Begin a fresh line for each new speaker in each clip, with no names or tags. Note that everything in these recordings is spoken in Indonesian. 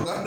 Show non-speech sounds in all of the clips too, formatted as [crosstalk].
kan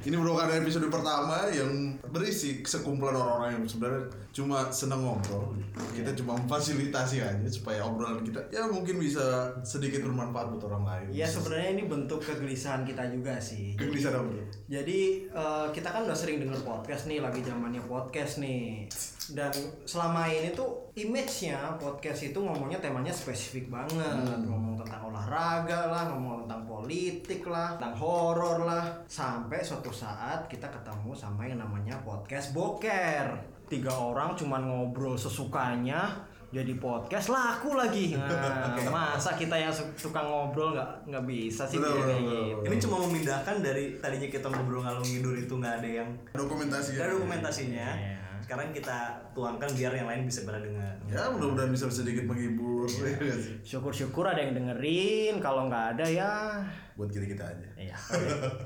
Ini merupakan episode pertama yang berisi sekumpulan orang-orang yang sebenarnya cuma senang ngobrol. Kita cuma memfasilitasi aja supaya obrolan kita ya mungkin bisa sedikit bermanfaat buat orang lain.
Ya sebenarnya ini bentuk kegelisahan kita juga sih.
Kegelisahan apa tuh?
Jadi eh, kita kan udah sering denger podcast nih, lagi zamannya podcast nih. Dan selama ini tuh image-nya podcast itu ngomongnya temanya spesifik banget. Ngomong tentang olahraga lah, ngomong tentang politik lah, tentang horor lah. Sampai suatu saat kita ketemu sama yang namanya podcast boker. Tiga orang cuman ngobrol sesukanya jadi podcast laku lagi. Nah, masa kita yang su- suka ngobrol nggak nggak bisa sih
Betul,
kayak
betul,
gitu.
betul.
Ini cuma memindahkan dari tadinya kita ngobrol ngalung ngidur itu nggak ada yang
Dokumentasi
nggak
ya.
ada dokumentasinya.
Iya.
Sekarang kita tuangkan biar yang lain bisa pada dengar.
Iya.
Ya mudah-mudahan bisa sedikit menghibur
Iya. Syukur-syukur ada yang dengerin, kalau nggak ada ya,
[laughs] buat kita kita aja.
iya.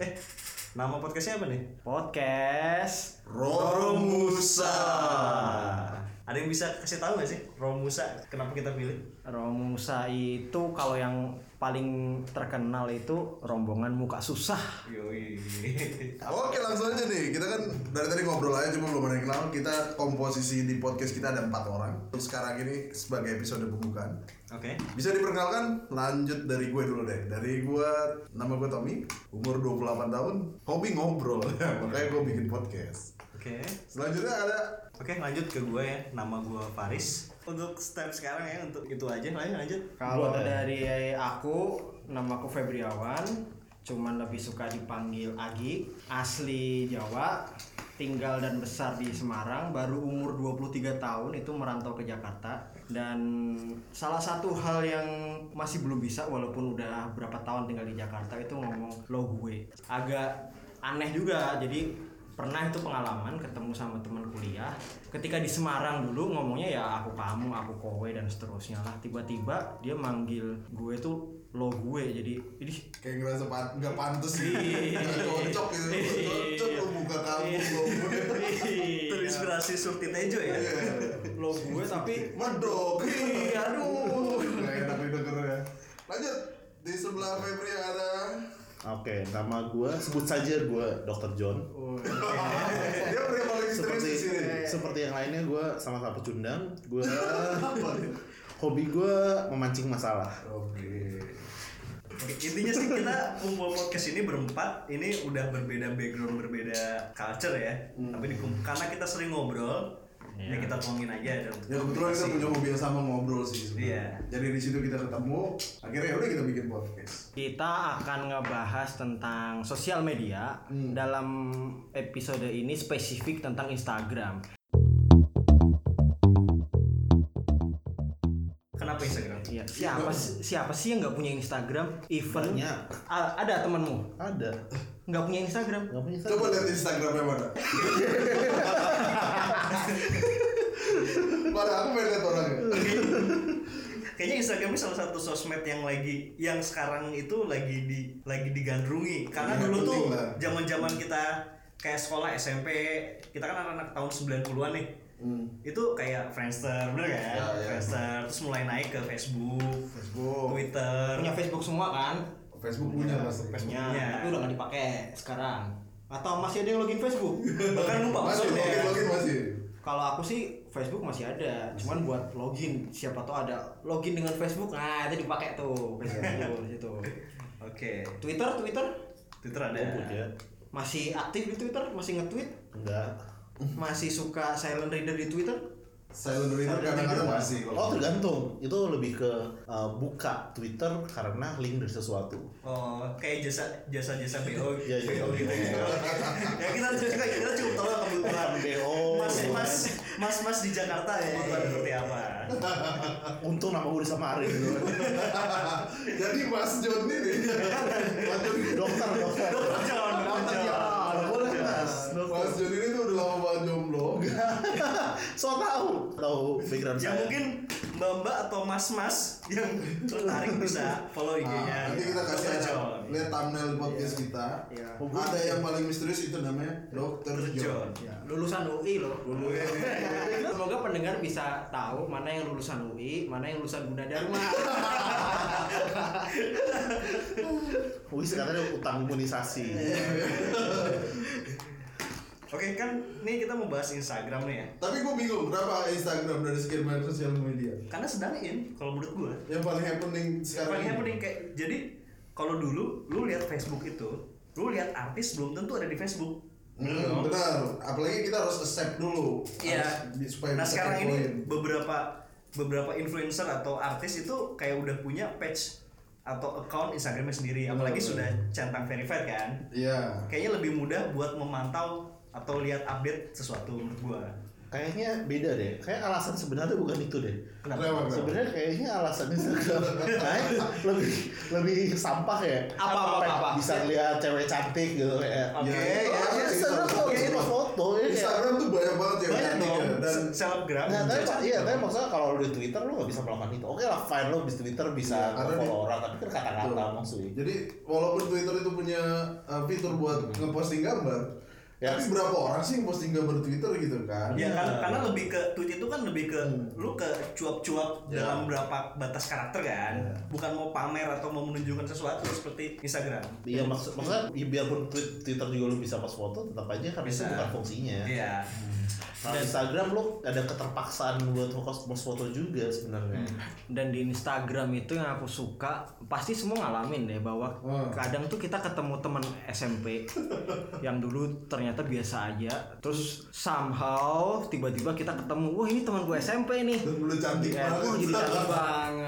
eh, nama podcastnya apa nih?
Podcast.
Romusa.
Ah.
Ah. Ada yang bisa kasih tahu nggak sih Romusa kenapa kita pilih?
Romusa itu kalau yang paling terkenal itu rombongan muka susah.
Yoi.
Oke langsung aja nih, kita kan dari tadi ngobrol aja cuma belum ada yang kenal Kita komposisi di podcast kita ada empat orang Terus sekarang ini sebagai episode pembukaan
[laughs] Oke.
Bisa diperkenalkan, lanjut dari gue dulu deh Dari gue, nama gue Tommy, umur 28 tahun Hobi ngobrol, [laughs] makanya gue bikin podcast
Oke.
Selanjutnya ada
Oke, lanjut ke gue ya. Nama gue Faris. Untuk step sekarang ya untuk itu aja. Lanjut lanjut.
Iya.
Kalau
Buat, eh,
dari aku, namaku Febriawan, cuman lebih suka dipanggil Agi, asli Jawa, tinggal dan besar di Semarang, baru umur 23 tahun itu merantau ke Jakarta dan salah satu hal yang masih belum bisa walaupun udah berapa tahun tinggal di Jakarta itu ngomong lo gue. Agak aneh juga. Jadi pernah itu pengalaman ketemu sama teman kuliah ketika di Semarang dulu ngomongnya ya aku kamu aku kowe dan seterusnya lah tiba-tiba dia manggil gue tuh lo gue jadi ini
Kayak ngerasa pan gak pantas sih
Iya.
Gak Cocok gitu, cocok lu buka kamu
[laughs]
gue
Terinspirasi Surti Tejo ya.
Iya. lo gue tapi
Medok
Iya, aduh.
Gak enak nih dengernya Lanjut, di sebelah Febri ada
Oke, nama gue sebut saja gue Dr. John.
Dia pria paling serius
Seperti
di sini.
seperti yang lainnya gue sama-sama pecundang. Gue
[laughs]
hobi gue memancing masalah.
Oke.
Oke, intinya sih kita membuat podcast ini berempat ini udah berbeda background berbeda culture ya
Hmm.
tapi di, karena kita sering ngobrol ya kita tuangin aja dalam
Ya kebetulan kita punya hobi yang sama ngobrol sih sebenarnya.
Iya.
Jadi di situ kita ketemu, akhirnya ya udah kita bikin podcast.
kita akan ngebahas tentang sosial media
Hmm.
dalam episode ini spesifik tentang Instagram
kenapa Instagram
Iya.
ya, siapa siapa sih yang nggak punya Instagram even
Banyak.
A- ada temanmu
Ada.
nggak punya Instagram
Gak punya
Coba lihat Instagramnya mana. Mana aku pengen lihat orangnya.
kayaknya Instagram ini salah satu sosmed yang lagi yang sekarang itu lagi di lagi digandrungi karena
Iya,
dulu tuh
penting lah.
zaman-zaman kita kayak sekolah SMP kita kan anak-anak tahun 90-an nih itu kayak Friendster bener kan
Hmm. Ya, ya. Oh.
Friendster terus mulai naik ke Facebook
Facebook.
Twitter
punya Facebook semua kan?
Facebook punya pasti.
Facebook.
Punya,
Punya.
tapi udah nggak dipakai sekarang. Atau masih ada yang login [laughs] Facebook?
bahkan lupa
Masih,
maksudnya
masih, masih, masih.
Kalau aku sih Facebook masih ada, cuman buat login siapa tahu ada login dengan Facebook, nah itu dipakai tuh [laughs] Facebook di situ.
Oke,
Twitter, Twitter
Twitter ada.
Gue punya.
masih aktif di Twitter, masih nge-tweet,
Enggak.
masih suka silent reader di Twitter.
Silent reader kadang-kadang masih. kalau- gitu.
Oh tergantung. Itu lebih ke uh, buka Twitter karena link dari sesuatu.
Oh, kayak jasa jasa jasa BO,
Iya, iya.
BO gitu. ya kita kita, kita cukup tahu lah kebutuhan
BO.
Mas mas mas mas di Jakarta ya. Kebutuhan seperti apa?
Untung nama gue disamarin gitu.
Nah, Jadi Mas John ini. Mas John ini.
dokter, dokter.
Jangan
Dokter,
jangan.
ya, boleh mas.
Mas John ini tuh udah lama banget jomblo.
so tahu tahu background
Ya
saya
mungkin mbak-mbak atau mas-mas yang tertarik bisa follow
Nah,
IG-nya.
nanti kita kasih
Dokter
aja
John.
lihat thumbnail podcast kita.
Iya.
Ada yang paling misterius itu namanya Dokter
Dokter John.
John.
Ya, lulusan UI loh. Semoga pendengar bisa tahu mana yang lulusan UI, mana yang lulusan Gunadarma.
wih sekarang ada utang
[laughs]
imunisasi
Oke kan, nih kita mau bahas Instagram nih ya.
Tapi gue bingung kenapa Instagram dari sekian banyak sosial media
Karena sedang in, kalau menurut gue.
yang paling happening sekarang.
Paling
ini.
happening kayak jadi kalau dulu lu lihat Facebook itu, lu lihat artis belum tentu ada di Facebook.
Hmm, benar. Apalagi kita harus accept dulu.
Iya.
Harus di- supaya
Nah
bisa
sekarang ini
kepoin.
beberapa beberapa influencer atau artis itu kayak udah punya page atau account Instagramnya sendiri, apalagi
Benar.
sudah centang verified kan.
Iya.
Kayaknya lebih mudah buat memantau atau lihat update sesuatu menurut gua.
kayaknya beda deh kayak alasan sebenarnya bukan itu deh
Kenapa?
Kenapa?
sebenarnya kayaknya alasannya [laughs] Instagram kayak lebih lebih sampah ya
Apa, apa,
Kayak
apa?
bisa lihat cewek cantik gitu kayak
Oke,
Iya,
Eh,
iya,
ya,
iya, iya,
Instagram kalau
iya.
cuma foto ya kayak-
Instagram tuh banyak banget ya
Banyak
cantik
dong
ya. dan
se- selebgram. gitu.
Nah, tapi,
Cacat.
iya, tapi maksudnya kalau di Twitter lu gak bisa melakukan itu. Oke lah, fine lu di Twitter bisa
Iya, karena
follow
di-
orang, tapi kan kata-kata
Betul.
maksudnya.
Jadi walaupun Twitter itu punya uh, fitur buat ngeposting gambar,
Ya.
tapi berapa orang sih yang posting gambar Twitter gitu kan?
Ya kan,
Iya.
karena lebih ke tweet itu kan lebih ke lu ke cuap-cuap
Ya.
dalam berapa batas karakter kan, bukan mau pamer atau mau menunjukkan sesuatu seperti Instagram.
Iya maksud maksudnya ya, biarpun tweet- Twitter juga lu bisa pas foto tetap aja karena itu
Bisa.
bukan fungsinya.
Iya.
Nah,
Iya.
Instagram lu ada keterpaksaan buat fokus post foto juga sebenarnya.
Hmm.
Dan di Instagram itu yang aku suka, pasti semua ngalamin deh bahwa
Hmm.
kadang tuh kita ketemu teman SMP yang dulu ternyata biasa aja, terus somehow tiba-tiba kita ketemu, wah ini teman gue SMP nih.
Dan udah cantik
Ya, wah, jadi cantik
banget.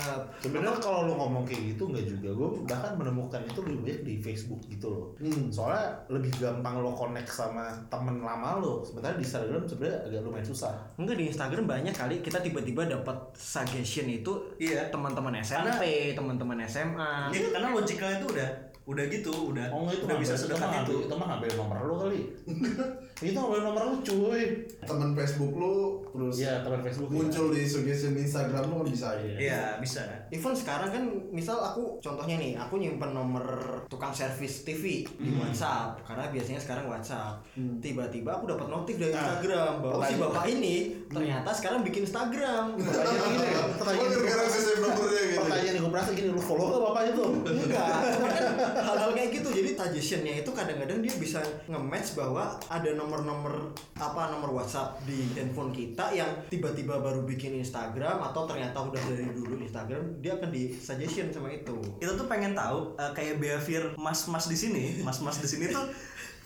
banget.
Sebenarnya kalau lu ngomong kayak gitu nggak juga, gue bahkan menemukan itu lebih banyak di Facebook gitu loh.
Hmm.
Soalnya lebih gampang lo connect sama temen lama lo. Sebenarnya di Instagram sebenarnya agak lumayan susah.
Enggak di Instagram banyak kali kita tiba-tiba dapat suggestion itu
Iya.
teman-teman SMP, teman-teman SMA.
Ya, karena logikalnya itu udah udah gitu, udah
Oh enggak itu
udah
nggak
bisa
bisa itu mah
sedekat
itu.
itu.
Itu mah ngambil nomor lu kali. itu ngambil nomor lu cuy.
Temen Facebook lu terus
Iya, teman Facebook.
muncul di suggestion Instagram lu kan bisa aja.
Iya, bisa.
Even sekarang kan misal aku contohnya nih, aku nyimpen nomor tukang servis TV di WhatsApp karena biasanya sekarang WhatsApp. Tiba-tiba aku dapat notif dari
Nah,
Instagram bahwa si
pertanyaan-
bapak ini ternyata sekarang bikin Instagram.
Pertanyaan gini deh,
Cuma
pertanyaan gini.
gara-gara nge-save nomornya gitu.
Pertanyaan yang gue perasa gini, lu follow gak bapaknya tuh?
Enggak, cuman kan hal-hal kayak gitu. Jadi suggestionnya itu kadang-kadang dia bisa nge-match bahwa ada nomor-nomor apa nomor WhatsApp di handphone kita yang tiba-tiba baru bikin Instagram atau ternyata udah dari dulu Instagram, dia akan di suggestion sama itu.
Kita tuh pengen tahu eh, kayak behavior mas-mas di sini, mas-mas di sini tuh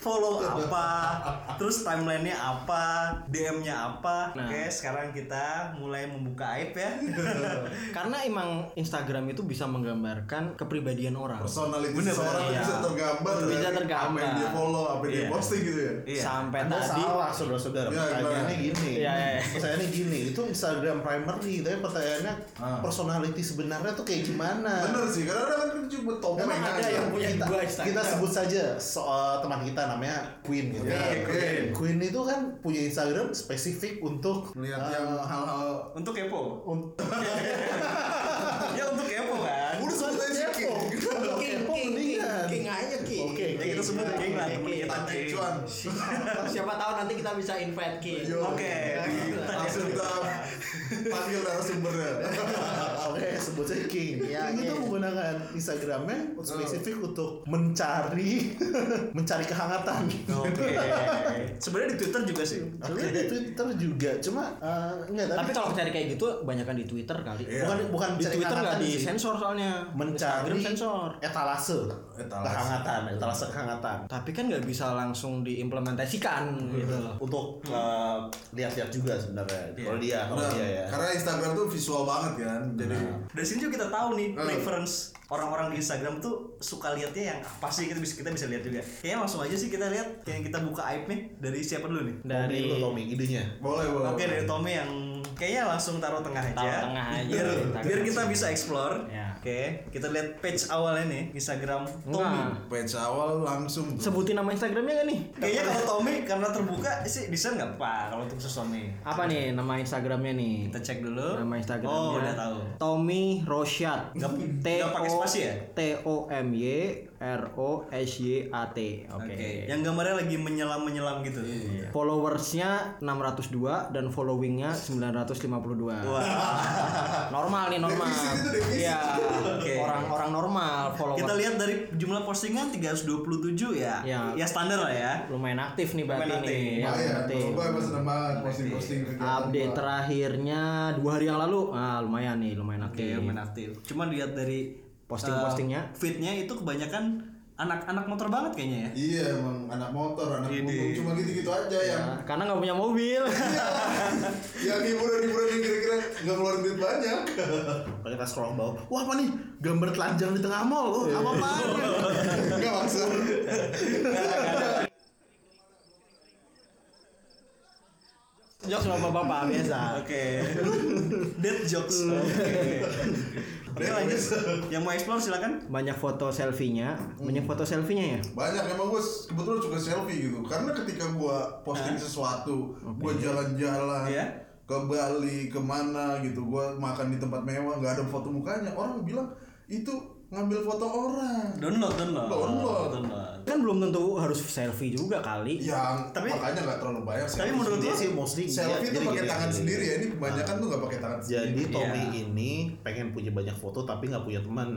follow apa, terus timelinenya apa, DM-nya apa.
Nah.
Oke, sekarang kita mulai membuka aib ya. [laughs]
Karena emang Instagram itu bisa menggambarkan kepribadian orang.
Personalitas
Bener,
seseorang
iya.
bisa tergambar
Bisa
dari
tergambar.
apa yang dia follow, apa yang dia
Iya.
posting gitu ya.
Iya.
Sampai
Anda
tadi
Kan salah saudara-saudara.
Iya,
Pertanyaannya
gimana?
gini.
Iya, iya, iya.
Pertanyaannya gini. Itu Instagram primary, tapi pertanyaannya
Ah.
personality sebenarnya tuh kayak gimana?
Bener sih, karena kan cuma topeng
Emang
aja.
ada yang punya
kita,
dua Instagram.
kita sebut saja soal teman kita namanya Queen gitu.
Iya, Queen.
Queen itu kan punya Instagram spesifik untuk
melihat
eh,
yang hal-hal
Untuk kepo.
un-
ya untuk kepo kan.
udah sebut aja sih
kepo. Kalau kepo mendingan.
king aja king.
Oke, gitu.
Ya, kita sebut king lah temen kita.
Tante
King.
Cuan
[laughs] Siapa tahu nanti kita bisa invite king.
Iya.
Yo.
Oke.
Iya. langsung kita panggil narasumbernya
Oke, sebut saja King.
Ya,
Iya,
King itu
iya.
menggunakan Instagramnya
Oh.
spesifik untuk mencari [laughs] mencari kehangatan.
Oke. Sebenarnya di Twitter juga sih.
Sebenarnya di Twitter juga, cuma eh, enggak
Tapi kalau cari kayak gitu banyakan di Twitter kali.
Iya.
bukan bukan
Di
mencari
Twitter nggak
kehangatan sih.
disensor soalnya.
mencari
Instagram sensor.
etalase,
Etalase.
kehangatan, etalase kehangatan.
Tapi kan nggak bisa langsung diimplementasikan
Iya.
gitu loh.
Untuk eh, lihat-lihat juga sebenarnya. Kalau dia, kalau
Nah,
dia ya.
karena Instagram tuh visual banget kan jadi
Dari sini juga kita tahu nih
Hmm.
preference orang-orang di Instagram tuh suka liatnya yang apa sih kita bisa kita bisa lihat juga. Kayaknya langsung aja sih kita lihat yang kita buka aib nih dari siapa dulu nih.
Tommy, lu
Dari
Tommy idenya.
boleh boleh
Oke dari Tommy yang kayaknya langsung taruh tengah aja.
Taruh tengah aja.
Biar,
Taruh
biar
tengah.
kita bisa explore.
Ya. Nah.
Oke, kita lihat page awalnya nih Instagram Tommy.
Enggak.
Page awal langsung bro.
Sebutin nama Instagramnya gak nih?
Kayaknya kalau Tommy karena terbuka sih desain nggak apa kalau untuk khusus Tommy.
Apa nih nama Instagramnya nih?
Kita cek dulu.
Nama Instagramnya.
Oh, udah tahu.
Tommy Rosyad.
Nggak- nggak pakai spasi ya?
T O M Y R O S Y A T. Oke. Iya.
Oke. Yang gambarnya lagi menyelam-menyelam gitu.
Followersnya 602 dan followingnya 952. Normal nih normal.
Defisit itu, defisit.
Iya.
Oke.
Orang-orang normal follower.
Kita lihat dari jumlah postingan 327 ya.
Ya.
Ya standar lah ya.
lumayan aktif nih berarti
Lumayan aktif.
nih. Ya,
Lumayan,
lumayan aktif.
Gue emang Iya, seneng banget posting-posting kegiatan
Update
gua.
terakhirnya dua hari yang lalu. Ah lumayan nih lumayan
Oke,
aktif.
lumayan aktif. Cuman lihat dari
Posting-postingnya.
eh, feednya itu kebanyakan anak-anak motor banget kayaknya ya.
Iya emang anak motor, anak
Ini.
motor cuma gitu-gitu aja yang
Nah, karena nggak punya mobil. [laughs] Iya.
yang hiburan-hiburan yang kira-kira nggak keluarin duit banyak.
[laughs]
Kalau kita scroll ke bawah, wah apa nih? Gambar telanjang di tengah
Iya.
mall. Oh, apa
[laughs]
apaan
Enggak maksud.
Jok sama bapak biasa.
Oke. Dead jokes. Oke. Oke, lanjut. Yang mau explore silakan.
Banyak foto selfie-nya,
Hmm.
banyak foto selfie-nya ya.
Banyak emang gue kebetulan suka selfie gitu karena ketika gua posting sesuatu, gua jalan-jalan
Iya.
ke Bali kemana gitu, gua makan di tempat mewah nggak ada foto mukanya orang bilang itu ngambil foto orang.
Download, download.
Download.
download.
Kan belum tentu harus selfie juga kali.
yang
Tapi-
Iya, makanya nggak terlalu banyak
Tapi
selfie.
menurut
Dia
lo
sih mostly
iya,
selfie tuh
dia- jadi
pakai
gitu,
gini.
tangan sendiri ya ini kebanyakan tuh nggak pakai tangan sendiri
Jadi Tommy
Iya.
ini pengen punya banyak foto tapi nggak punya teman.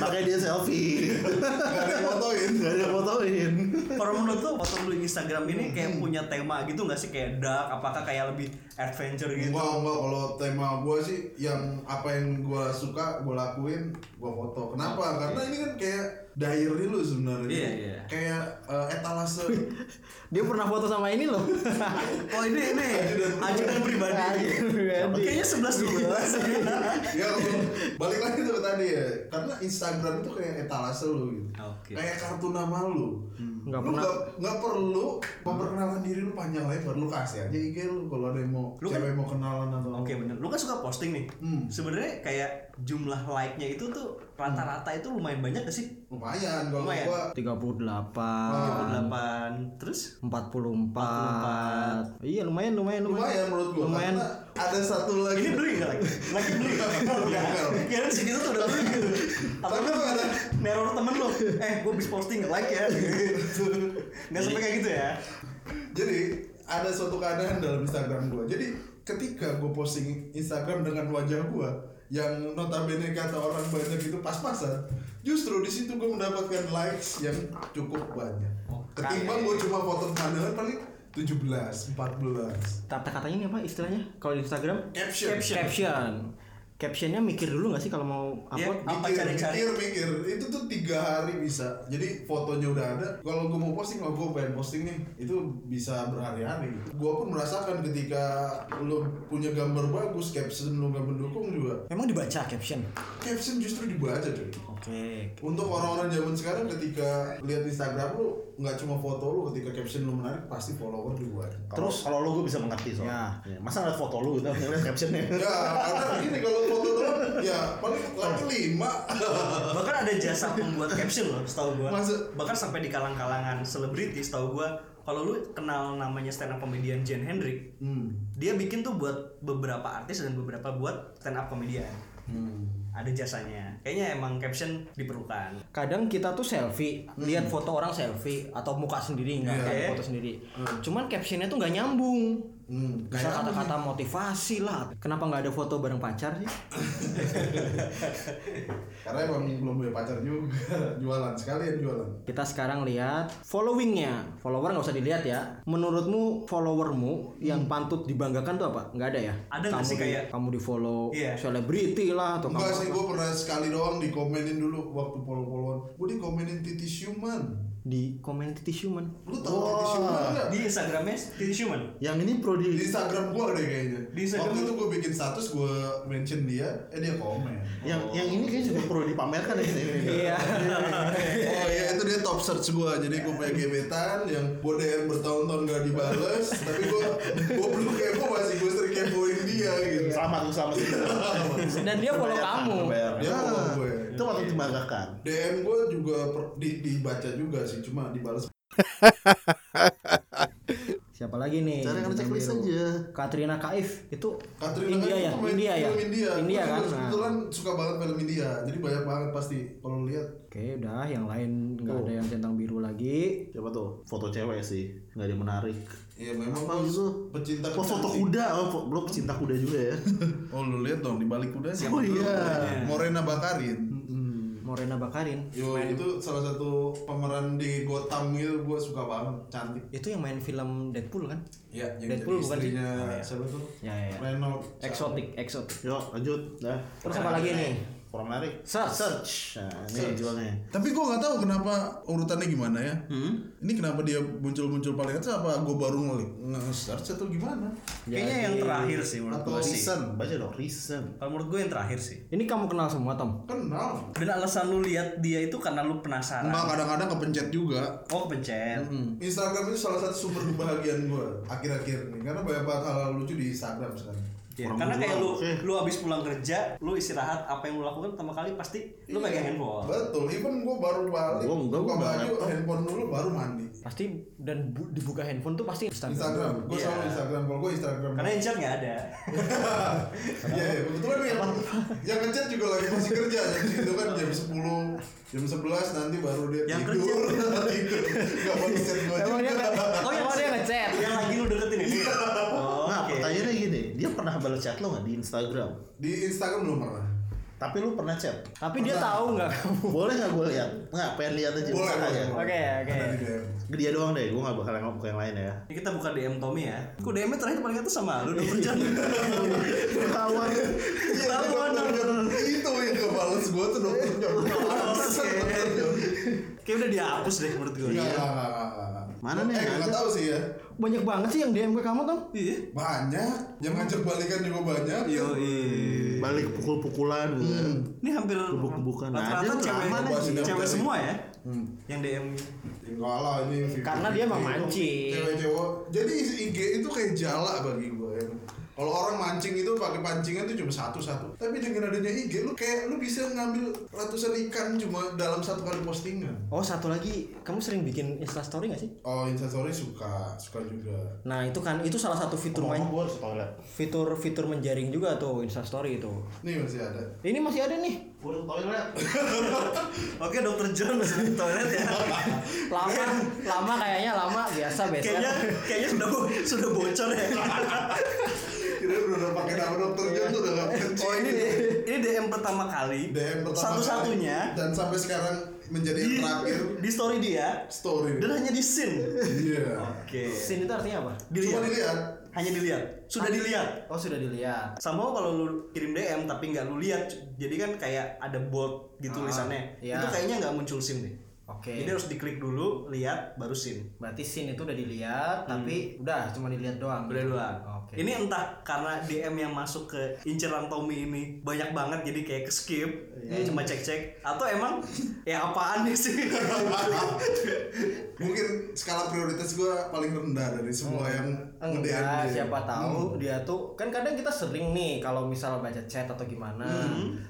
Makanya dia selfie.
Iya. [laughs] nggak ada yang fotoin
Gak ada yang fotoin.
Kalau menurut tuh foto lu Instagram ini kayak punya tema gitu nggak sih kayak dark? Apakah kayak lebih adventure gitu?
Enggak, enggak kalau tema gua sih yang apa yang gua suka gua lakuin gua foto. Kenapa? Karena ini kan kayak diary lu sebenarnya.
Iya, iya.
Kayak eh, etalase.
[laughs]
Dia pernah foto sama ini loh. [laughs]
Oh ini ini ajudan pribadi.
Ajudan pribadi.
Iya, Kayaknya sebelas dua
ya kalau- balik lagi tuh tadi ya. Karena Instagram itu kayak etalase lu gitu.
Oke. Hmm.
Kayak kartu nama lu.
Nggak
lu
pernah-
nggak nggak perlu memperkenalkan diri lu panjang lebar lu kasih aja IG lu kalau ada yang mau
Lu kan-
cewek mau kenalan atau
[laughs] Oke bener. Lu kan suka posting nih.
Hmm.
Sebenarnya kayak jumlah like-nya itu tuh rata-rata itu lumayan banyak gak sih?
lumayan kalau
Lumayan.
gua
Ah.
38
8 terus
44. Iya lumayan lumayan lumayan.
lumayan menurut gua
Lumayan.
karena ada satu lagi [laughs]
ini beli nggak lagi? Lagi beli [laughs] nggak?
Bukan, bukan.
Kira segitu tuh udah beli gitu. Atau
Tapi
lu
lu ada-
neror temen lu? Eh, gue bis posting like [laughs] ya. Nggak sampai kayak gitu ya?
Jadi ada suatu keadaan dalam Instagram gua. Jadi ketika gue posting Instagram dengan wajah gua yang notabene kata orang banyak itu pas-pasan, justru di situ gue mendapatkan likes yang cukup banyak.
Oh,
Ketimbang gue cuma foto pandangan paling 17, 14.
Kata katanya ini apa istilahnya? Kalau di Instagram?
Caption.
Caption. Captionnya mikir dulu nggak sih kalau mau
Iya.
upload?
Apa
mikir,
cari-cari?
mikir, mikir. Itu tuh tiga hari bisa. Jadi fotonya udah ada. Kalau gue mau posting, kalau gue pengen posting nih, itu bisa berhari-hari. Gue pun merasakan ketika lo punya gambar bagus, caption lo nggak mendukung juga.
Emang dibaca caption?
Caption justru dibaca cuy.
Oke.
Untuk orang-orang zaman sekarang ketika lihat Instagram lu nggak cuma foto lu, ketika caption lu menarik pasti follower juga.
Terus kalau lu gue bisa mengerti
Iya.
soalnya. Ya. Masa ngeliat foto lu gitu, ngeliat captionnya.
Ya, karena gini kalau foto doang, ya paling lagi lima.
bahkan ada jasa membuat caption loh setahu gua
Maksud-
bahkan sampai di kalang-kalangan selebriti setahu gua kalau lu kenal namanya stand up comedian Jen Hendrik
Hmm.
dia bikin tuh buat beberapa artis dan beberapa buat stand up comedian
hmm,
ada jasanya kayaknya emang caption diperlukan
Kadang kita tuh selfie, lihat foto orang selfie atau muka sendiri nggak
Iya.
kayak foto sendiri. Cuman captionnya tuh nggak nyambung.
Hmm. Kayak apa
Bisa
sih?
kata-kata motivasi lah. Kenapa nggak ada foto bareng pacar sih?
Karena emang belum punya pacar juga [laughs] Jualan, sekalian jualan
Kita sekarang lihat followingnya. Follower nggak usah dilihat ya. Menurutmu followermu yang pantut dibanggakan tuh apa? Nggak ada ya?
Ada nggak
Kamu
sih
di-
kayak-
kamu di follow
Iya.
selebriti lah atau
Enggak
kamu
sih,
apa?
gue pernah sekali doang dikomenin dulu waktu follow-followan Gue dikomenin titis human
di komen titis human.
Lu tau titis human nggak?
di Instagramnya Titi Schumann
Yang ini pro
Di
di
Instagram gue deh kayaknya
Di Instagram
Waktu
lu?
itu gue bikin status, gue mention dia, eh dia
[laughs]
komen
yang yang ini kayaknya juga pro dipamerkan ya ini. ini.
Iya.
Oh iya, itu dia top search gue Jadi gue punya gebetan yang gue DM bertahun-tahun gak dibales Tapi gue, gue belum kepo masih gue sering kepoin dia Iya gitu.
Selamat lu selamat.
Dan dia follow
Terbayarkan,
kamu.
terbayarkan.
Dia follow gue.
Itu kan? patut
Iya.
dibanggakan.
DM gue juga per- di- dibaca juga sih, cuma dibalas.
[laughs] Siapa lagi nih?
Cari kan checklist aja.
Katrina Kaif itu
Katrina
India
kan
ya,
pemain
India ya,
film India.
India
Gue juga
kan. Nah,
Kebetulan suka banget film India, jadi banyak banget pasti kalau lu lihat.
Oke, udah yang lain nggak ada yang centang biru lagi.
Siapa tuh? Foto cewek sih, nggak ada yang menarik.
Iya memang
Apa itu?
pecinta
Oh, foto
kecantikan.
kuda, oh, fo- belum cinta kuda juga ya.
Oh lu lihat dong di balik kuda
Oh iya.
Morena Bakarin.
Morena Bakarin.
Yo, itu salah satu pemeran di Gotham gitu gue suka banget, cantik.
Itu yang main film Deadpool kan?
Ya, yang
Deadpool
jadi
bukan sih?
istrinya siapa tuh?
Ya, ya, ya.
Reno.
Exotic, exotic.
Yuk, lanjut. Dah.
Terus apa lagi nih?
Kurang menarik.
Search.
Nah, ini jualnya.
Tapi gue nggak tahu kenapa urutannya gimana ya.
Hmm?
Ini kenapa dia muncul-muncul paling atas apa gue baru ngelik nge-search atau gimana?
Kayaknya yang terakhir sih menurut
Atau
gue sih.
reason, baca dong reason.
Kalau menurut gue yang terakhir sih.
Ini kamu kenal semua Tom?
Kenal.
Dan alasan lu lihat dia itu karena lu penasaran.
Enggak kadang-kadang kepencet juga.
Oh kepencet.
Hmm.
Instagram itu salah satu sumber kebahagiaan gue akhir-akhir ini karena banyak banget hal, lucu di Instagram sekarang.
Ya,
Orang
karena
berdua,
kayak lu
oke.
lu habis pulang kerja, lu istirahat, apa yang lu lakukan pertama kali pasti lu
Iya.
pegang handphone.
Iya. Betul, even gue baru balik,
Gua enggak,
buka
gua
baju,
laptop.
handphone dulu baru mandi.
Pasti dan bu- dibuka handphone tuh pasti Instagram.
Instagram, gue sama
Iya.
Instagram, kalau gue Instagram.
Karena yang chat nggak ada.
Iya, iya, kebetulan yang yang ngechat juga lagi masih kerja, jadi itu kan jam 10, jam 11 nanti baru dia
Yang
tidur, [laughs] tidur, nggak mau ngechat gue
Emang dia
juga.
nge- Oh, yang dia ngechat.
yang lagi lu deketin ini. Oh,
Nah,
oke.
pertanyaannya gini, dia pernah balas chat lo nggak di Instagram?
Di Instagram belum pernah.
Tapi lu pernah chat?
Tapi dia tahu nggak kamu?
Boleh nggak gue lihat? Nggak, pengen lihat aja.
Boleh,
bisa
ya?
boleh.
aja.
Oke, oke.
Ada di DM.
Dia doang deh, gue nggak bakal ngomong ke yang lain ya.
Ini kita buka DM Tommy ya. Ku DM -nya terakhir paling atas sama lu dua jam.
Ketahuan.
Iya,
Ketahuan,
dokter John. itu yang gak bales gue tuh dokter
Iya.
John. Bangsat, dokter John.
Kayak udah dihapus deh menurut gue.
Nggak, nggak, nggak, nggak, nggak.
Mana nih
Eh,
yang
nggak
ada?
tahu sih ya.
Banyak banget sih yang DM ke kamu Tom.
Iya.
Banyak, yang ngajak balikan juga banyak.
Yo,
iya. Balik pukul-pukulan gitu. kan.
Ini hampir
Gebuk-gebukan aja
rata-rata
lu
cewek,
lama
nih.
cewek semua ya.
Hmm.
Yang DM
Enggak lah ini
Karena dia emang mancing.
Cewek-cewek. Jadi IG itu kayak jala bagi gue. ya. Kalau orang mancing itu pakai pancingan itu cuma satu-satu. Tapi dengan adanya IG lu kayak lu bisa ngambil ratusan ikan cuma dalam satu kali postingan.
Oh satu lagi, kamu sering bikin instastory nggak sih?
Oh, instastory suka, suka juga.
Nah itu kan itu salah satu fitur
Turun
main
gue harus toilet.
fitur fitur menjaring juga tuh instastory itu.
Nih masih ada.
Ini masih ada nih.
Gue harus toilet.
Oke, Dokter John masuk toilet ya.
Lama lama kayaknya lama biasa
kayaknya
biasa.
kayaknya sudah bo- sudah bocor ya.
Kira udah udah pakai nama dokter John tuh udah gak kencing.
Oh ini D- ini DM pertama kali.
DM pertama
Satu-satunya
kali. dan sampai sekarang menjadi yang
di,
terakhir
di story dia
story.
dan hanya di scene.
Iya.
Oke.
Scene itu artinya apa?
Cuma
Dilihat.
dilihat
Hanya dilihat. Sudah dilihat.
Oh sudah dilihat.
Sama kalau lu kirim DM tapi nggak lu lihat, jadi kan kayak ada bold gitu
Ah,
tulisannya.
iya.
Itu kayaknya nggak muncul SIM deh.
Oke.
Jadi harus diklik dulu, lihat, baru SIM.
Berarti scene itu udah dilihat, tapi Hmm. udah cuma dilihat doang.
Udah dua.
Oke.
Ini entah karena DM yang masuk ke inceran Tommy ini banyak banget jadi kayak ke skip,
Iya.
cuma cek-cek atau emang ya apaan nih
[laughs]
sih?
mungkin skala prioritas gue paling rendah dari semua
Hmm.
yang
Enggak,
nge-DM.
siapa tahu dia tuh kan kadang kita sering nih kalau misal baca chat atau gimana.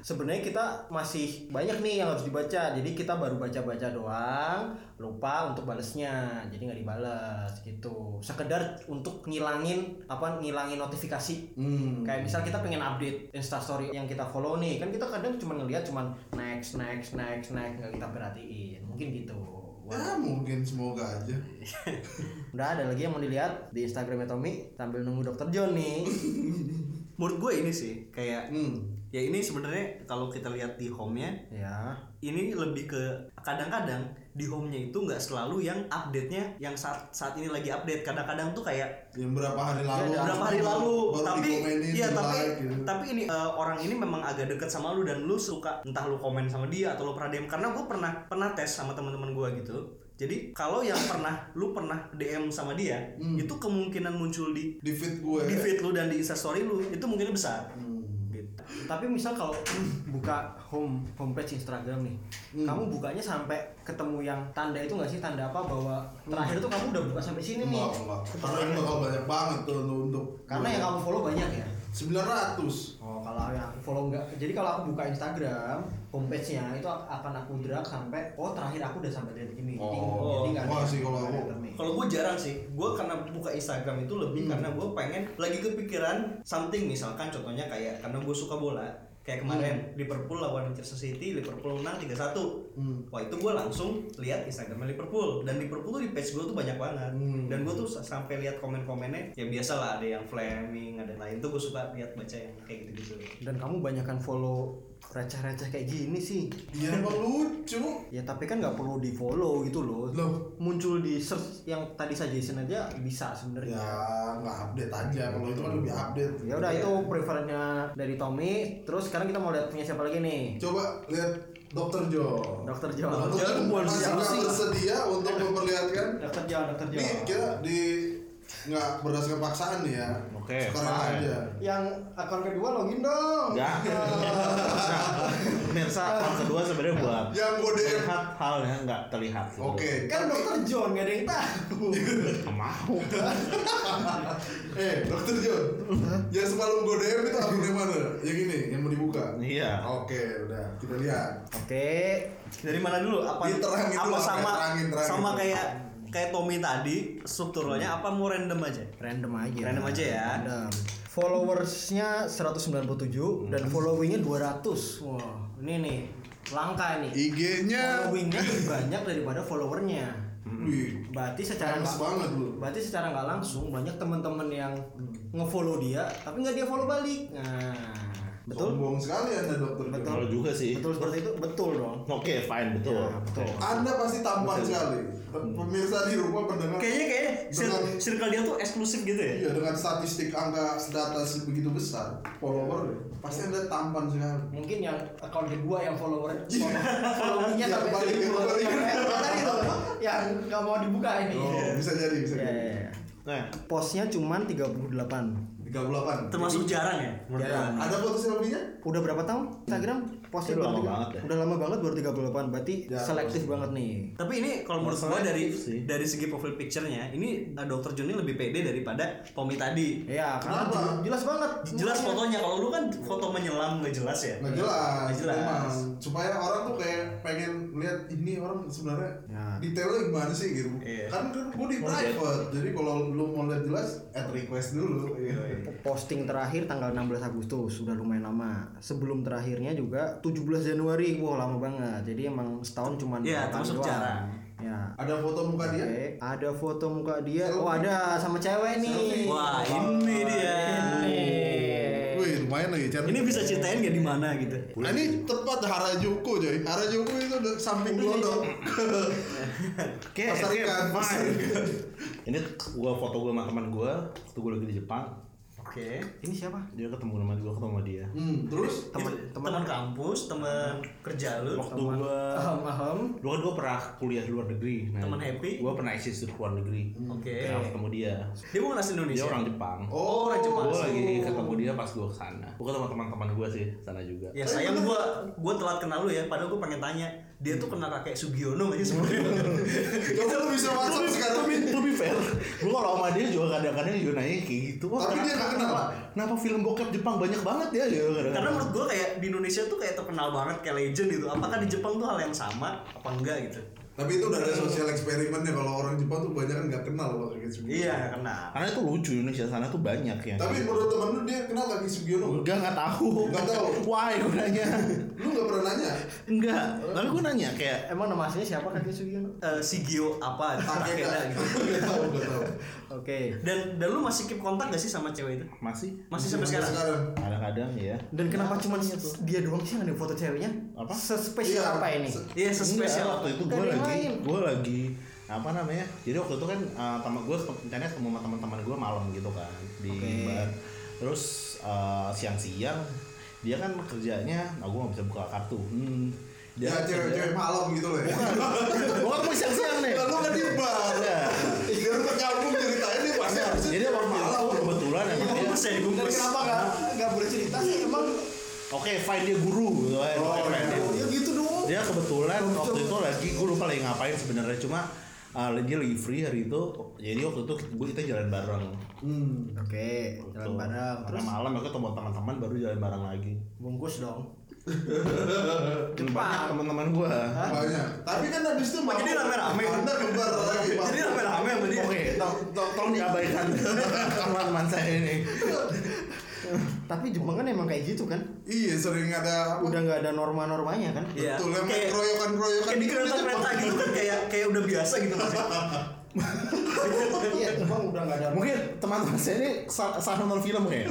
Sebenarnya kita masih banyak nih yang harus dibaca. Jadi kita baru baca-baca doang, lupa untuk balesnya. Jadi nggak dibales gitu. Sekedar untuk ngilangin apa ngilangin notifikasi.
Hmm.
Kayak misal kita pengen update instastory yang kita follow nih, kan kita kadang cuma ngelihat cuman next next next next nggak kita perhatiin. Mungkin gitu. Wah.
Ya mungkin semoga aja.
Udah ada lagi yang mau dilihat di Instagramnya Tommy sambil nunggu Dokter John nih.
Menurut gue ini sih kayak
Hmm.
ya ini sebenarnya kalau kita lihat di home-nya
Ya.
ini lebih ke kadang-kadang di home-nya itu nggak selalu yang update-nya yang saat saat ini lagi update kadang-kadang tuh kayak
Yang berapa hari lalu?
Ya, berapa hari
baru-
lalu
Ya, Baru
tapi
dikomenin,
iya
di
tapi
like, gitu.
tapi ini eh, orang ini memang agak deket sama lu dan lu suka entah lu komen sama dia atau lu pernah DM karena gue pernah pernah tes sama teman-teman gue gitu jadi kalau yang pernah lu pernah DM sama dia
Hmm.
itu kemungkinan muncul di
di feed gue. ya.
di feed lu dan di instastory lu itu mungkin besar
Hmm.
gitu.
Tapi misal kalau buka home homepage Instagram nih, kamu bukanya sampai ketemu yang tanda itu nggak sih tanda apa bahwa terakhir tuh kamu udah buka sampai sini nih.
Enggak, enggak. Karena ini bakal banyak banget tuh untuk, untuk
Karena yang kamu follow banyak ya.
900
Oh, kalau yang aku follow enggak. Jadi kalau aku buka Instagram, homepage-nya itu akan aku drag sampai oh terakhir aku udah sampai detik ini. Jadi-
Oh.
jadi nggak ada
Wah,
yang
sih, kalau
nggak ada
aku-
yang termik.
Kalau gue jarang sih, gue karena buka Instagram itu
Hmm.
lebih karena gue pengen lagi kepikiran something misalkan contohnya kayak karena gue suka bola kayak
Hmm.
kemarin Liverpool lawan Manchester City Liverpool menang 3-1
Hmm.
wah itu gue langsung lihat Instagramnya Liverpool dan Liverpool tuh di page gue tuh banyak banget
Hmm.
dan gue tuh sa- sampai lihat komen-komennya ya biasa lah ada yang flaming ada yang lain tuh gue suka lihat baca yang kayak gitu-gitu
Dan kamu banyakkan follow receh-receh kayak gini sih.
Iya emang lucu
Ya tapi kan nggak perlu di follow gitu loh.
Loh.
Muncul di search yang tadi suggestion aja bisa
Ya
sebenarnya.
nggak update aja kalau itu kan lebih update
Ya udah itu preferennya dari Tommy. Terus sekarang kita mau lihat punya siapa lagi nih?
Coba lihat Dokter Jo.
Dr. Jo.
Dr. Jo
Bukan siapa
masih
sih?
bersedia untuk memperlihatkan.
Dokter Jo, dokter Jo.
Ini kita di nggak berdasarkan paksaan nih ya.
Oke,
Sekarang
fine.
aja.
Yang akun kedua login dong.
Enggak. Nah, pemirsa, yang kedua sebenarnya buat
Yang gue DM.
melihat hal yang nggak terlihat.
Oke.
Kan dokter John nggak ada yang tahu.
Nggak Mau.
Eh, Dokter Jo. yang semalam gue DM itu akunnya mana? Yang ini, yang mau dibuka.
Iya.
Oke, udah kita lihat.
Oke.
dari mana dulu apa
Diterangin
apa
dulu,
sama
gitu terangin, terangin. Hmm.
sama kayak kayak Tommy tadi strukturalnya apa mau random aja
Random aja.
Random aja ya.
Random. Followersnya 197
Hmm.
dan followingnya 200. Wah, ini nih langka nih.
IG-nya.
Followingnya lebih banyak daripada followernya.
Wih,
Berarti secara
panas
nggak
banget lu.
berarti secara nggak langsung banyak teman-teman yang ngefollow dia tapi nggak dia follow balik. Nah, betul.
Sombong sekali anda Dokter Jo.
Kalau juga sih.
Betul seperti itu, betul dong.
Oke, fine, betul.
Ya, betul.
Anda pasti tampan sekali. Pemirsa di rumah pendengar.
kayaknya kayaknya
Dengan-
cir- circle dia tuh eksklusif gitu ya
Iya dengan statistik angka data begitu besar follower pasti anda tampan sekali.
mungkin yang account kedua yang follower
Yang
followernya sampai
balik,
seribu
yang balik.
yang kayak iya. tadi tuh, yang nggak mau dibuka ini
Oh bisa jadi
iya,
bisa
ya,
jadi.
ya, ya.
Nah,
posnya cuma 38
Tiga puluh delapan. Iya.
termasuk jarang ya
Jarang.
Ada foto selfie-nya?
udah berapa tahun Instagram posnya
Udah lama
tiga-
banget ya.
udah lama banget baru 38 berarti
Ya,
selektif banget nih
tapi ini kalau menurut gua
Masalahnya
dari
sih.
dari segi profil picture-nya ini eh, dokter Joni lebih pede daripada Tommy tadi
ya
Kenapa?
karena jelas, jelas banget Iya.
jelas
semuanya.
fotonya kalau lu kan foto menyelam nggak jelas ya
Nggak jelas.
Nggak jelas.
memang. Supaya orang tuh kayak pengen lihat ini orang sebenarnya detailnya gimana sih gitu.
Iya.
Kan kan gue di private. Jadi kalau lu mau lihat jelas, add request dulu. Iya.
posting terakhir tanggal 16 Agustus sudah lumayan lama sebelum terakhirnya juga 17 Januari wah lama banget jadi emang setahun cuma
Iya,
berapa kali
termasuk
doang.
jarang.
ya
Ada foto muka dia?
Iya.
Oke, ada foto muka dia. Oh, ada sama cewek nih.
wah ini dia Iya.
Ini.
Wih lumayan lagi cantik.
ini bisa ceritain gak di mana gitu
Nah, ini tepat Harajuku coy. Harajuku itu udah samping Glodok.
oke,
Pasar
oke,
ikan, pasar
fine.
ikan.
Ini gua foto gua sama teman gua, waktu gua lagi di Jepang,
oke
Ini siapa?
dia ketemu sama gua, ketemu sama dia.
[laughs] Hmm, terus
Teman
Itu
teman
teman kampus teman kerja lu
Waktu gua
ahem ahem.
Dulu kan gue pernah kuliah di luar negeri.
Temen happy?
Gue pernah eksis di luar negeri.
oke Iya.
Kenapa ketemu dia?
dia bukan asli
Dia
Indonesia
orang Jepang.
Oh,
orang Jepang.
Gue lagi ketemu [laughs] dia pas gue kesana. Gue ketemu teman-teman gue sih sana juga.
Ya sayang gua gua telat kenal lu ya, padahal gua pengen tanya. Dia tuh kenal kakek Sugiono aja
[laughs]
sebenarnya.
Kamu lu bisa WhatsApp sekarang
Tapi to be fair, gue kalau sama dia juga kadang-kadang juga nanya kayak gitu. Wah,
Tapi dia nggak kenal.
Kenapa, kenapa film bokep Jepang banyak banget ya? Gitu,
Karena menurut gua kayak di Indonesia tuh kayak terkenal banget kayak legend gitu. Apakah di Jepang tuh hal yang sama apa enggak gitu?
Tapi itu udah ada sosial eksperimennya kalau orang Jepang tuh banyak kan nggak kenal loh kayak gitu.
Iya, kenal.
karena itu lucu Indonesia sana tuh banyak yang.
Tapi menurut temen lu dia kenal lagi Sugiono.
Enggak, nggak tahu.
Nggak tahu.
Why gue nanya?
Lu nggak pernah
[laughs]
nanya.
Enggak. Tapi gue nanya kayak
Emang nama aslinya siapa kakek Sugiono?
Eh, Sigio apa
Takeda.
Takeda gitu.
[laughs] Nggak tahu, nggak tahu.
Oke.
Dan dan lu masih keep kontak gak sih sama cewek itu?
masih
Masih sampai sekarang.
kadang-kadang
Iya,
ya.
Dan kenapa cuma dia doang sih yang ada foto ceweknya?
Apa?
Sespesial
Iya,
apa ini?
se-
Iya,
Enggak,
sespesial
waktu itu
Gak
gue
ada yang
lagi
lain.
gue lagi apa namanya jadi waktu itu kan eh, teman gue rencananya ketemu sama teman-teman gue malam gitu kan di bar terus eh, siang-siang dia kan kerjanya nah gue nggak bisa buka kartu hmm.
Ya
[laughs]
cewek-cewek malam gitu loh. ya. [laughs]
gue ketemu Oh, siang-siang nih
Lah, Lu kan di bar.
Nah,
Biar tergabung ceritanya dia pasti harusnya
Iya. jadi
cewek
waktu itu
malam. Iya.
kebetulan emang dia
Bungkus ya,
Dan
dibungkus.
kenapa nggak nggak bercerita sih? Emang
oke fine dia guru gitu kan
Oh,
Oke, fine, dia
ya gitu dong.
dia kebetulan waktu itu lagi gue lupa lagi ngapain sebenarnya cuma ah, dia lagi free hari itu jadi waktu itu kita, kita jalan bareng
Hmm.
Oke, jalan
Tuh.
bareng.
Karena
Terus
malam aku ketemu teman-teman baru jalan bareng lagi
bungkus dong. [laughs]
Dan banyak teman-teman gua
banyak tapi kan habis itu
jadi rame-rame.
partner kembar lagi
[laughs] Jadi rame-rame sama dia. Iya.
oke to- to- tolong
[laughs]
diabaikan teman-teman saya ini
Tapi Jepang kan emang kayak gitu kan?
iya sering ada apa
Udah nggak ada norma-normanya kan?
Iya.
betul yang
Kayak-
keroyokan keroyokan
Kayak di kereta-kereta gitu kan kayak kayak udah biasa gitu Mas.
[laughs]
Iya, Jepang udah nggak ada.
mungkin teman-teman saya ini sa- salah nonton film
[laughs]
kayak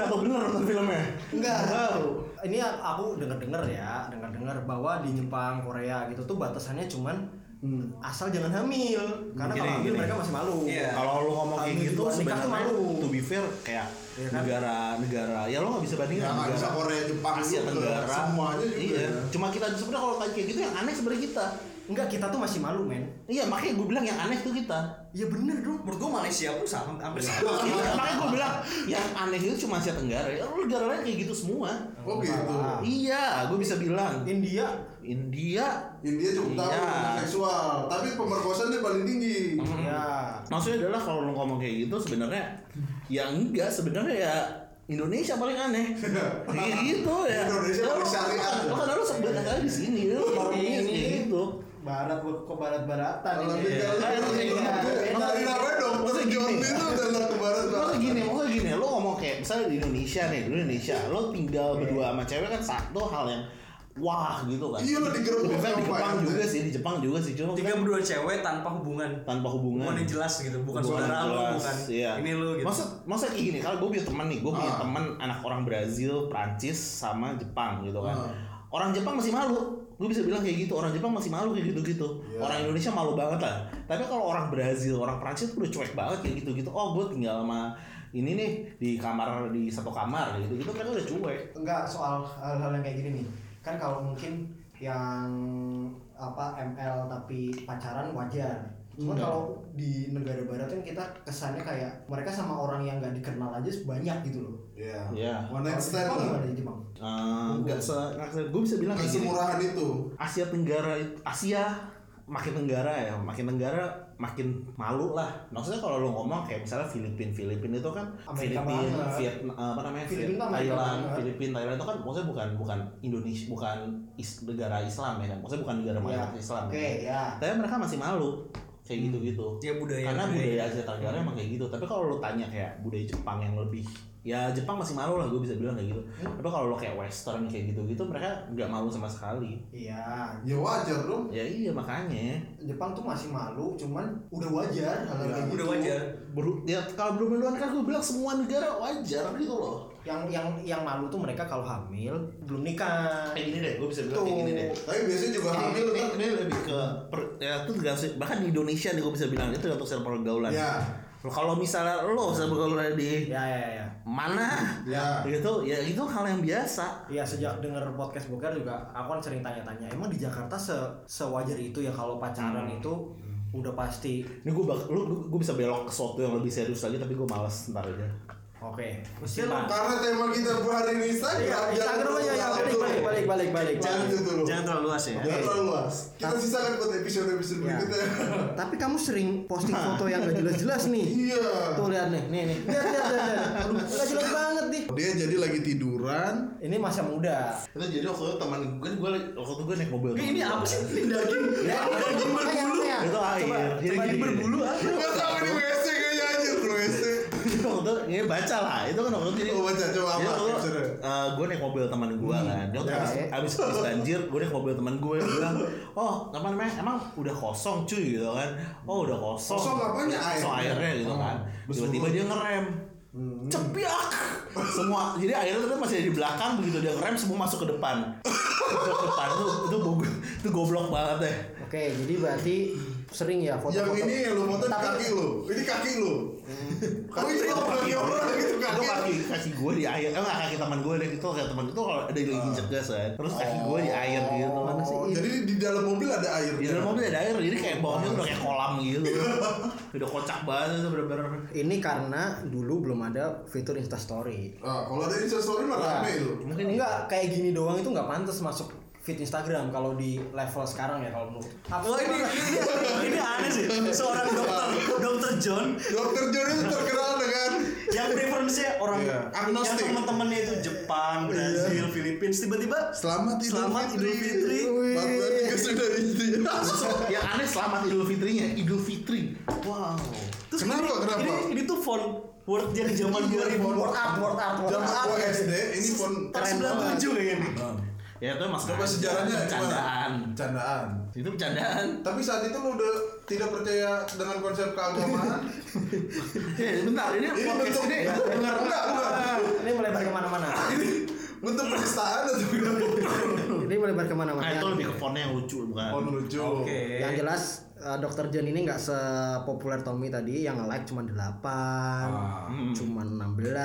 atau bener nonton ya? filmnya
Enggak tahu. Ini aku dengar-dengar ya, dengar-dengar bahwa di Jepang, Korea gitu tuh batasannya cuman
Hmm.
asal jangan hamil. Karena
Gini,
kalau hamil
gini.
mereka masih malu.
Iya.
kalau lu ngomong
Kami
kayak gitu
juga nikah tuh
sebenarnya
malu.
to be fair
Iya kan?
kayak
Iya,
negara-negara ya lo nggak bisa bandingin
Ya,
sama
nggak bisa
negara
Korea, Jepang
Asia
juga,
Tenggara
semuanya juga
iya
ya.
cuma kita sebenarnya kalau kayak gitu yang aneh sebenarnya kita
Enggak, kita tuh masih malu, men.
iya makanya gue bilang yang aneh tuh kita
Ya bener dong.
Menurut gua Malaysia pun sama hampir sama.
Iya, makanya gue bilang yang aneh itu cuma Asia Tenggara ya lu negara lain kayak gitu semua
oh gitu
Ah.
iya gue bisa bilang
India
India
India cukup tahu
Iya.
tentang seksual tapi pemerkosaan dia paling tinggi
Hmm.
ya
maksudnya adalah kalau lu ngomong kayak gitu sebenarnya ya enggak sebenarnya ya Indonesia paling
[laughs]
aneh kayak gitu ya
Indonesia paling syariat.
Lu kan lu sebenarnya kan di sini lu orang
Ini,
ini
ini.
kayak gitu
barat ke barat baratan
kalau
ini.
tinggal
Iya, iya, iya.
dari apa dong
Maksudnya
John
gini.
itu udah nggak ke barat
Maksudnya gini, maksudnya gini, lo ngomong kayak misalnya di Indonesia nih, di Indonesia, lo tinggal
Iya.
berdua sama cewek kan satu hal yang wah gitu kan.
Iya, lo digerebek
Bukan di
sama
Jepang
ya.
juga sih, di Jepang juga sih, cuma
Tiga
kan
berdua cewek tanpa hubungan.
tanpa hubungan.
Hubungan yang jelas gitu, bukan
Hubungan
saudara lu,
jelas,
bukan
iya.
ini lu gitu.
Maksud, maksud kayak gini, kalau gue punya teman nih, gue punya
Ah.
teman anak orang Brazil, Prancis, sama Jepang gitu kan.
Ah.
Orang Jepang masih malu, gue bisa bilang kayak gitu. Orang Jepang masih malu kayak gitu-gitu.
Iya.
Orang Indonesia malu banget lah. Tapi kalau orang Brazil, orang Prancis tuh udah cuek banget kayak gitu-gitu. Oh, gue tinggal sama ini nih di kamar di satu kamar gitu-gitu kan udah cuek.
enggak soal hal-hal yang kayak gini nih kan kalau mungkin yang apa ML tapi pacaran wajar cuma kalau di negara barat kan kita kesannya kayak mereka sama orang yang nggak dikenal aja banyak gitu loh
Iya.
Iya.
one night stand
Jepang
lah
gimana di Jepang
Eh, Nggak se, gue bisa bilang
Nggak
kayak gini.
semurahan itu
Asia Tenggara itu- Asia makin tenggara ya makin tenggara makin malu lah maksudnya kalau lo ngomong kayak misalnya Filipin Filipin itu kan
Amerika
Filipin
banget.
Vietnam apa namanya
Filipin
Viet-
tuh Amerika
Thailand
banget.
Filipin Thailand itu kan maksudnya bukan bukan Indonesia bukan is- negara Islam ya kan maksudnya bukan negara mayoritas Islam
Iya. oke Hmm. Iya,
ya.
ya
tapi mereka masih malu kayak gitu gitu
Ya budaya.
karena budaya Asia Tenggara
Hmm.
emang kayak gitu tapi kalau lo tanya kayak budaya Jepang yang lebih ya Jepang masih malu lah gue bisa bilang kayak gitu
Hmm.
tapi kalau lo kayak Western kayak gitu gitu mereka nggak malu sama sekali
iya
ya wajar dong
Ya iya makanya.
Jepang tuh masih malu cuman udah wajar hal-hal
Iya.
kayak gitu
Udah wajar.
Beru ya kalau belum duluan kan gue bilang semua negara wajar gitu loh.
yang yang yang malu tuh mereka kalau hamil belum nikah
Kayak gini deh, gue bisa bilang
Tuh.
kayak gini deh.
tapi biasanya juga
Ini,
hamil
ini,
kan
ini lebih ke per- ya itu tergantung bahkan di Indonesia nih gue bisa bilang itu tergantung server pergaulan.
ya
Kalau misalnya lo server pergaulan di
ya ya ya
mana
ya
gitu ya itu hal yang biasa.
Iya sejak denger podcast Boker juga aku kan sering tanya-tanya emang di Jakarta se sewajar itu ya kalau pacaran itu udah pasti
Ini gue bak lu gue bisa belok ke sesuatu yang lebih serius lagi tapi gue malas ntar aja.
oke
Mesti lu-
Silakan.
karena tema kita hari ini
Iya,
Instagram jangan
Instagram aja ya
terlalu
balik balik balik balik balik
jangan itu dulu
Jangan terlalu luas ya.
jangan terlalu luas kita sisakan buat episode episode
Iya.
berikutnya [laughs]
tapi kamu sering posting foto yang gak jelas-jelas nih
iya
tuh lihat nih nih nih lihat lihat lihat, lihat Aduh, nggak jelas banget nih
dia jadi lagi tiduran
ini masa muda
Itu jadi waktu itu teman gue gue waktu itu gue naik mobil.
Ini apa sih? Ini daging. Ini daging berbulu.
Iya,
Itu akhir. Jadi
coba
gini.
berbulu ah.
nggak tahu ini WC kayaknya anjir bro WC
itu waktu itu, ya baca lah itu kan waktu itu jadi
Oh, baca. Coba apa?
jadi waktu itu,
Episode.
eh, gue naik mobil teman gue kan dia waktu
Ya.
abis, abis, abis banjir gue naik mobil teman gue bilang oh apa namanya emang udah kosong cuy gitu kan oh udah kosong
Kosong apanya? Air.
kosong airnya gitu
Oh,
kan tiba-tiba dia ngerem
Hmm.
cepiak semua jadi airnya tuh masih ada di belakang begitu dia ngerem semua masuk ke depan masuk ke depan itu itu, bog- itu goblok banget deh
oke jadi berarti sering ya
yang
foto-foto
ini yang lu foto di
Tapi-
kaki lu ini kaki lu kaki itu
Itu
kaki orang gitu
itu
kaki
kaki kaki gue di air eh nggak kaki teman gue deh itu kayak teman itu kalau ada yang lagi injek gas kan terus kaki gue di air gitu Iya.
Mana sih?
Oh, jadi di dalam mobil ada air ya?
di dalam mobil ada air jadi kayak bawahnya tuh udah kayak kolam [laughs] gitu udah kocak banget itu bener-bener
ini karena dulu belum ada fitur Instastory Iya.
Ah, kalau ada instastory mah rame lu
mungkin enggak kayak gini doang itu nggak pantas masuk feed Instagram kalau di level sekarang ya kalau menurut.
Wah Oh, ini, ini, ini aneh sih. Seorang dokter, dokter John
Dokter John itu terkenal dengan
yang preferensinya orang
Iya, agnostik.
yang teman-temannya itu Jepang, Brazil, Filipina, tiba-tiba
Selamat Idul
Selamat
Fitri.
Idul Fitri.
Wih. 14 sudah itu. ya.
yang aneh selamat Idul Fitrinya, Idul Fitri. Wow.
terus
Kenapa,
ini,
kenapa?
Ini, ini tuh font Word yang zaman 2000
Word up, word up, word up. Zaman gua SD ini pun
tahun 97 kayaknya nih.
Ya itu mas.
Coba sejarahnya gimana?
Candaan.
Candaan.
Itu bercandaan. [laughs]
Tapi saat itu lu udah tidak percaya dengan konsep keagamaan.
Eh, bentar ini
Ini
podcast
bentuk-
[laughs] ini dengar
Enggak, enggak.
Ini melebar kemana-mana.
Bentuk penistaan atau gimana?
Ini melebar kemana-mana.
Nah, itu lebih ke fontnya yang lucu bukan?
Oh lucu.
Oke.
Yang jelas eh, Dokter John ini nggak sepopuler Tommy tadi yang like cuma 8,
Hmm.
cuma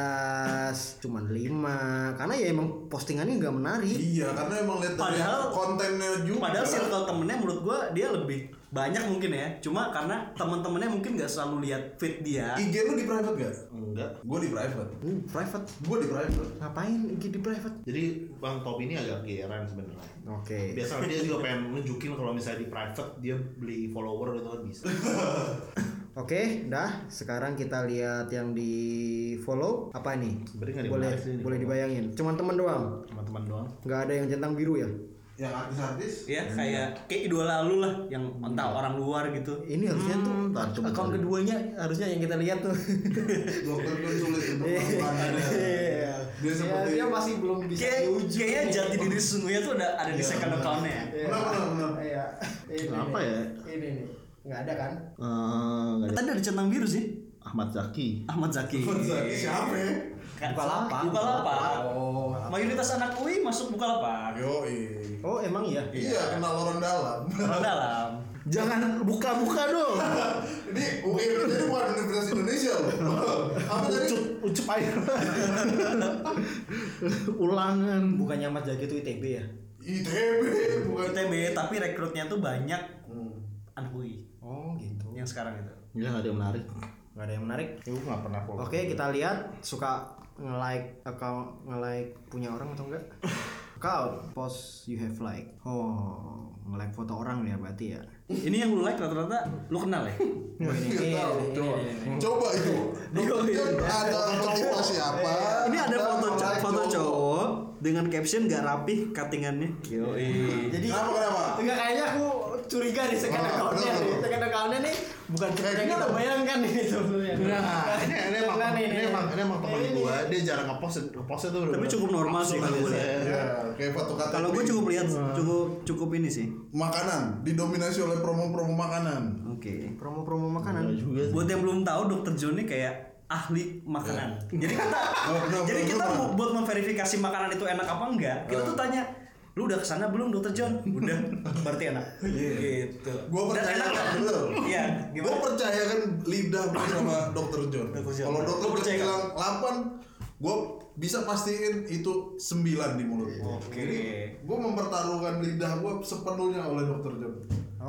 16, cuma 5 karena ya emang postingannya nggak menarik.
Iya, karena emang lihat dari
Padahal-
kontennya juga.
Padahal circle temennya menurut gua dia lebih banyak mungkin ya. Cuma karena teman-temannya mungkin nggak selalu lihat feed dia.
IG lu di private gak?
Enggak.
Gue di private.
Uh, private.
Gue di private.
Ngapain IG di private?
Jadi Bang Top ini agak geran sebenarnya.
Oke.
Biasanya dia juga pengen nunjukin kalau misalnya di private dia beli follower gitu kan bisa.
Oke, dah. Sekarang kita lihat yang di follow apa ini?
Sebenarnya nggak ada
boleh
yang menarik sih ini.
boleh dibayangin. Cuman temen doang.
Teman-teman doang.
Nggak ada yang centang biru ya?
Yang artis-artis.
Ya kayak kayak idola lu lah yang entah orang luar gitu.
Iya. Ini harusnya tuh
ntar coba
akun
cari.
keduanya harusnya yang kita lihat tuh. [laughs]
Dokter pun sulit untuk melakukannya.
Iya.
Dia seperti.
dia masih belum bisa
Kayak
diuji.
kayaknya jati diri sesungguhnya tuh ada ada di second account-nya ya.
Iya.
Benar, benar, benar.
Iya. Ini
Apa
nih.
ya?
Ini nih. Nggak ada kan?
Eh, nggak ada.
Tadi ada centang biru sih.
Ahmad Zaki.
Ahmad Zaki.
Zaki siapa? ya?
Kan,
Bukalapak.
Bukalapak.
Oh.
Mayoritas anak UI masuk Bukalapak.
Yoi.
Oh, emang iya.
Iya, kenal orang dalam. [laughs]
Orang dalam.
Jangan buka-buka dong.
Ini UIN itu bukan Universitas Indonesia
[laughs]
loh. Apa tadi?
ucup, ucup air. [laughs] Ulangan.
Bukannya Mas Jaki itu ITB ya?
ITB bukan.
ITB tapi rekrutnya tuh banyak anak UI
Oh, Hmm. gitu.
yang sekarang itu.
Ya nggak ada yang menarik.
Nggak ada yang menarik.
Ya, gue nggak pernah follow.
Oke, kita lihat suka nge-like account nge-like punya orang atau enggak? Account post you have like. Oh, nge-like foto orang ya berarti ya.
Ini yang lu like rata-rata lu kenal ya?
Oh, ini, ini,
Tahu,
ini,
coba.
ini, ini.
Coba itu. Dokter John ada cowok siapa?
[laughs] E Ini ada
Dan
foto
orang
cowok, foto
cowok.
cowok dengan caption gak rapih cuttingannya. Yoi.
Jadi
Kenapa kenapa?
Enggak kayaknya aku curiga nih second
Ah,
account-nya
kenapa?
nih. Second account-nya nih bukan kita
Kayak
yang kita
gitu.
bayangkan nih sebenarnya.
Nah, ini, ini emang,
Nah, nih,
ini
nih.
emang, ini emang teman
Ini,
gua. Dia jarang ngepost, ngepostnya tuh.
Tapi
bener-bener
cukup normal sih kalau gue lihat.
Ya, kayak foto KTP.
Kalau gue cukup lihat
Iya.
cukup cukup ini sih.
makanan didominasi oleh promo-promo makanan.
Oke.
Promo-promo makanan.
Nggak Iya
Iya
juga sih.
Buat yang belum tahu Dokter John ini kayak ahli makanan. Jadi
[laughs]
kita
Oh, no,
jadi
no,
kita
no, no.
mau- buat memverifikasi makanan itu enak apa enggak, kita
Iya.
tuh tanya lu udah kesana belum dokter John?
[laughs]
Udah, berarti enak. Gitu.
Iya. Gua
Dan
percaya lah,
enak nggak?
bener.
Iya,
Gue
gimana?
percaya kan lidah gue sama dokter John.
Dr. John.
Kalau dokter
Lu percaya
John bilang 8, gue bisa pastiin itu 9 di mulut gue.
Oke.
Gue mempertaruhkan lidah gue sepenuhnya oleh dokter John.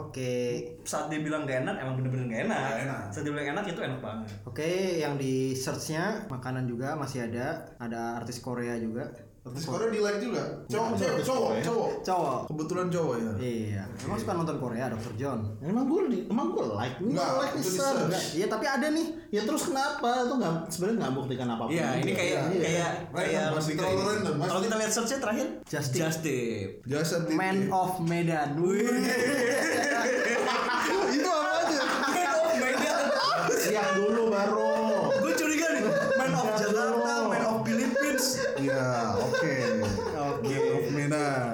Oke.
Saat dia bilang gak enak, emang bener-bener gak enak.
Nggak enak.
Saat dia bilang enak itu enak banget.
Oke, yang di search-nya makanan juga masih ada. Ada artis Korea juga.
Artis Korea di like juga. Cowok, cowok, cowok, cowok.
Cowok.
Kebetulan cowok ya.
Iya, emang suka nonton Korea, Dokter John.
Emang gue, di- emang gue like, gue
Nggak,
like
itu
nih
di
Sar.
search.
Nggak.
Iya, tapi ada nih.
Ya terus kenapa? Itu nggak sebenarnya nggak buktikan apa-apa.
Iya, ini
juga.
kayak
Iya.
kayak
Random,
kayak
masih terlalu random, masih.
Kalau kita lihat search-nya terakhir
Just Tip.
Just [laughs] Tip.
Jasa tip.
Man of Medan.
[laughs] itu apa aja?
Man of Medan.
Siang Iya, dulu baru.
Gue curiga nih. Man of Jakarta, Man of Philippines.
Iya, oke.
Oke.
Man of Medan.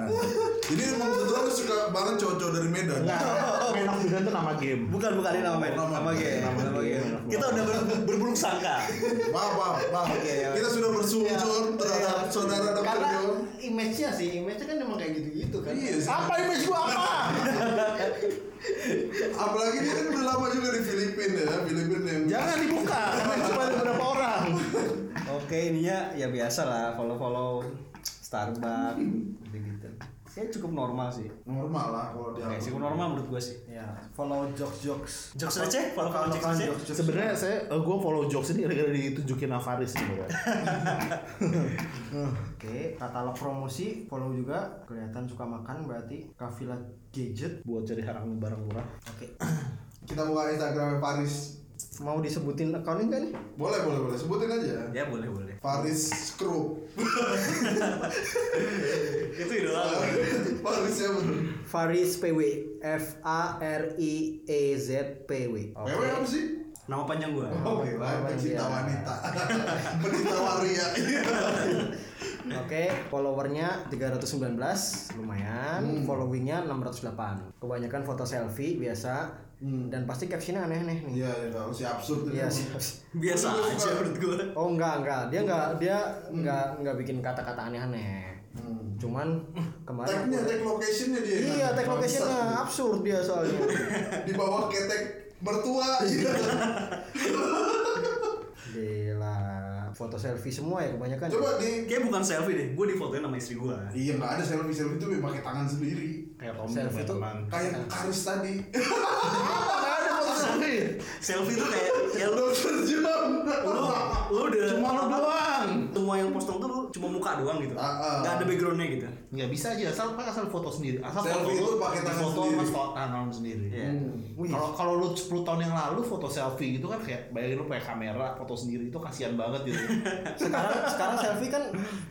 Jadi emang sebetulnya lu suka banget cowok-cowok dari Medan.
Nggak,
Nah,
Man of Medan tuh nama game.
Bukan bukan ini Iya, nama main.
Nama game.
Nama game.
Kita udah ber- berburuk sangka.
Maaf, maaf, maaf. Kita sudah bersujon terhadap saudara dokter
Iya. Karena
John.
image-nya sih, image-nya kan emang kayak gitu-gitu kan.
Iya sih.
Apa image gua
[laughs]
apa?
Apalagi dia kan udah lama juga di Filipina ya, Filipina yang
Jangan dibuka, karena cuma ada beberapa orang.
Oke, ininya ya biasa lah follow-follow Starbucks gitu. Ya cukup normal sih.
normal lah kalau dia
Kayak cukup normal menurut gua sih.
ya follow jokes jokes
Jokes receh, kalau kalau jokes receh.
Sebenarnya saya eh, gua follow jokes ini gara-gara ditunjukin gitu. Avaris [laughs] sebenarnya.
Oke, katalog promosi follow juga. Kelihatan suka makan berarti Kavila Gadget.
buat cari harang barang murah.
Oke.
kita buka Instagramnya Faris
Mau disebutin akunnya enggak nih?
boleh boleh boleh sebutin aja
Ya boleh boleh.
Faris Krup
Itu idola.
Faris yang
Faris PW F A R I E Z P W. Oke.
Wewe apa sih?
Nama panjang gua.
Oh, Wewe, pencinta
iya.
wanita [laughs] Pencinta waria Iya,
Oke, followernya 319, lumayan. Followingnya 608. Kebanyakan foto selfie biasa dan pasti captionnya aneh-aneh nih.
Iya, ya, harus si absurd
[laughs]
Hmm.
Iya.
ini.
sih.
Biasa aja menurut gua.
Oh enggak enggak, dia enggak
Hmm.
dia enggak enggak bikin kata-kata aneh-aneh.
Hmm.
Cuman kemarin aku-
Tagnya, tag locationnya dia
Iya, tag locationnya absurd dia
[laughs]
soalnya.
Di bawah ketek mertua
Iya.
gitu.
Gila, foto selfie semua ya kebanyakan.
Coba di
Kayak bukan selfie deh, gua difotoin sama istri gua.
Iya nggak ada selfie selfie itu pakai tangan sendiri.
Kayak
Selfie tuh.
Kayak Karis tadi. [laughs]
Selfie tuh kayak ya lu
Terjun.
lu lu Oh, udah
Cuma lu doang.
semua yang posting tuh lu cuma muka doang gitu.
Ah, ah.
Gak ada backgroundnya gitu.
Nggak bisa aja asal pakai asal foto sendiri. Asal
Selfie
foto
itu pakai tangan
foto
sendiri.
Mas foto tangan orang sendiri.
Iya.
Hmm.
Wih.
Kalau kalau lu 10 tahun yang lalu foto selfie gitu kan kayak bayangin lu pakai kamera foto sendiri itu kasihan banget gitu.
Sekarang sekarang selfie kan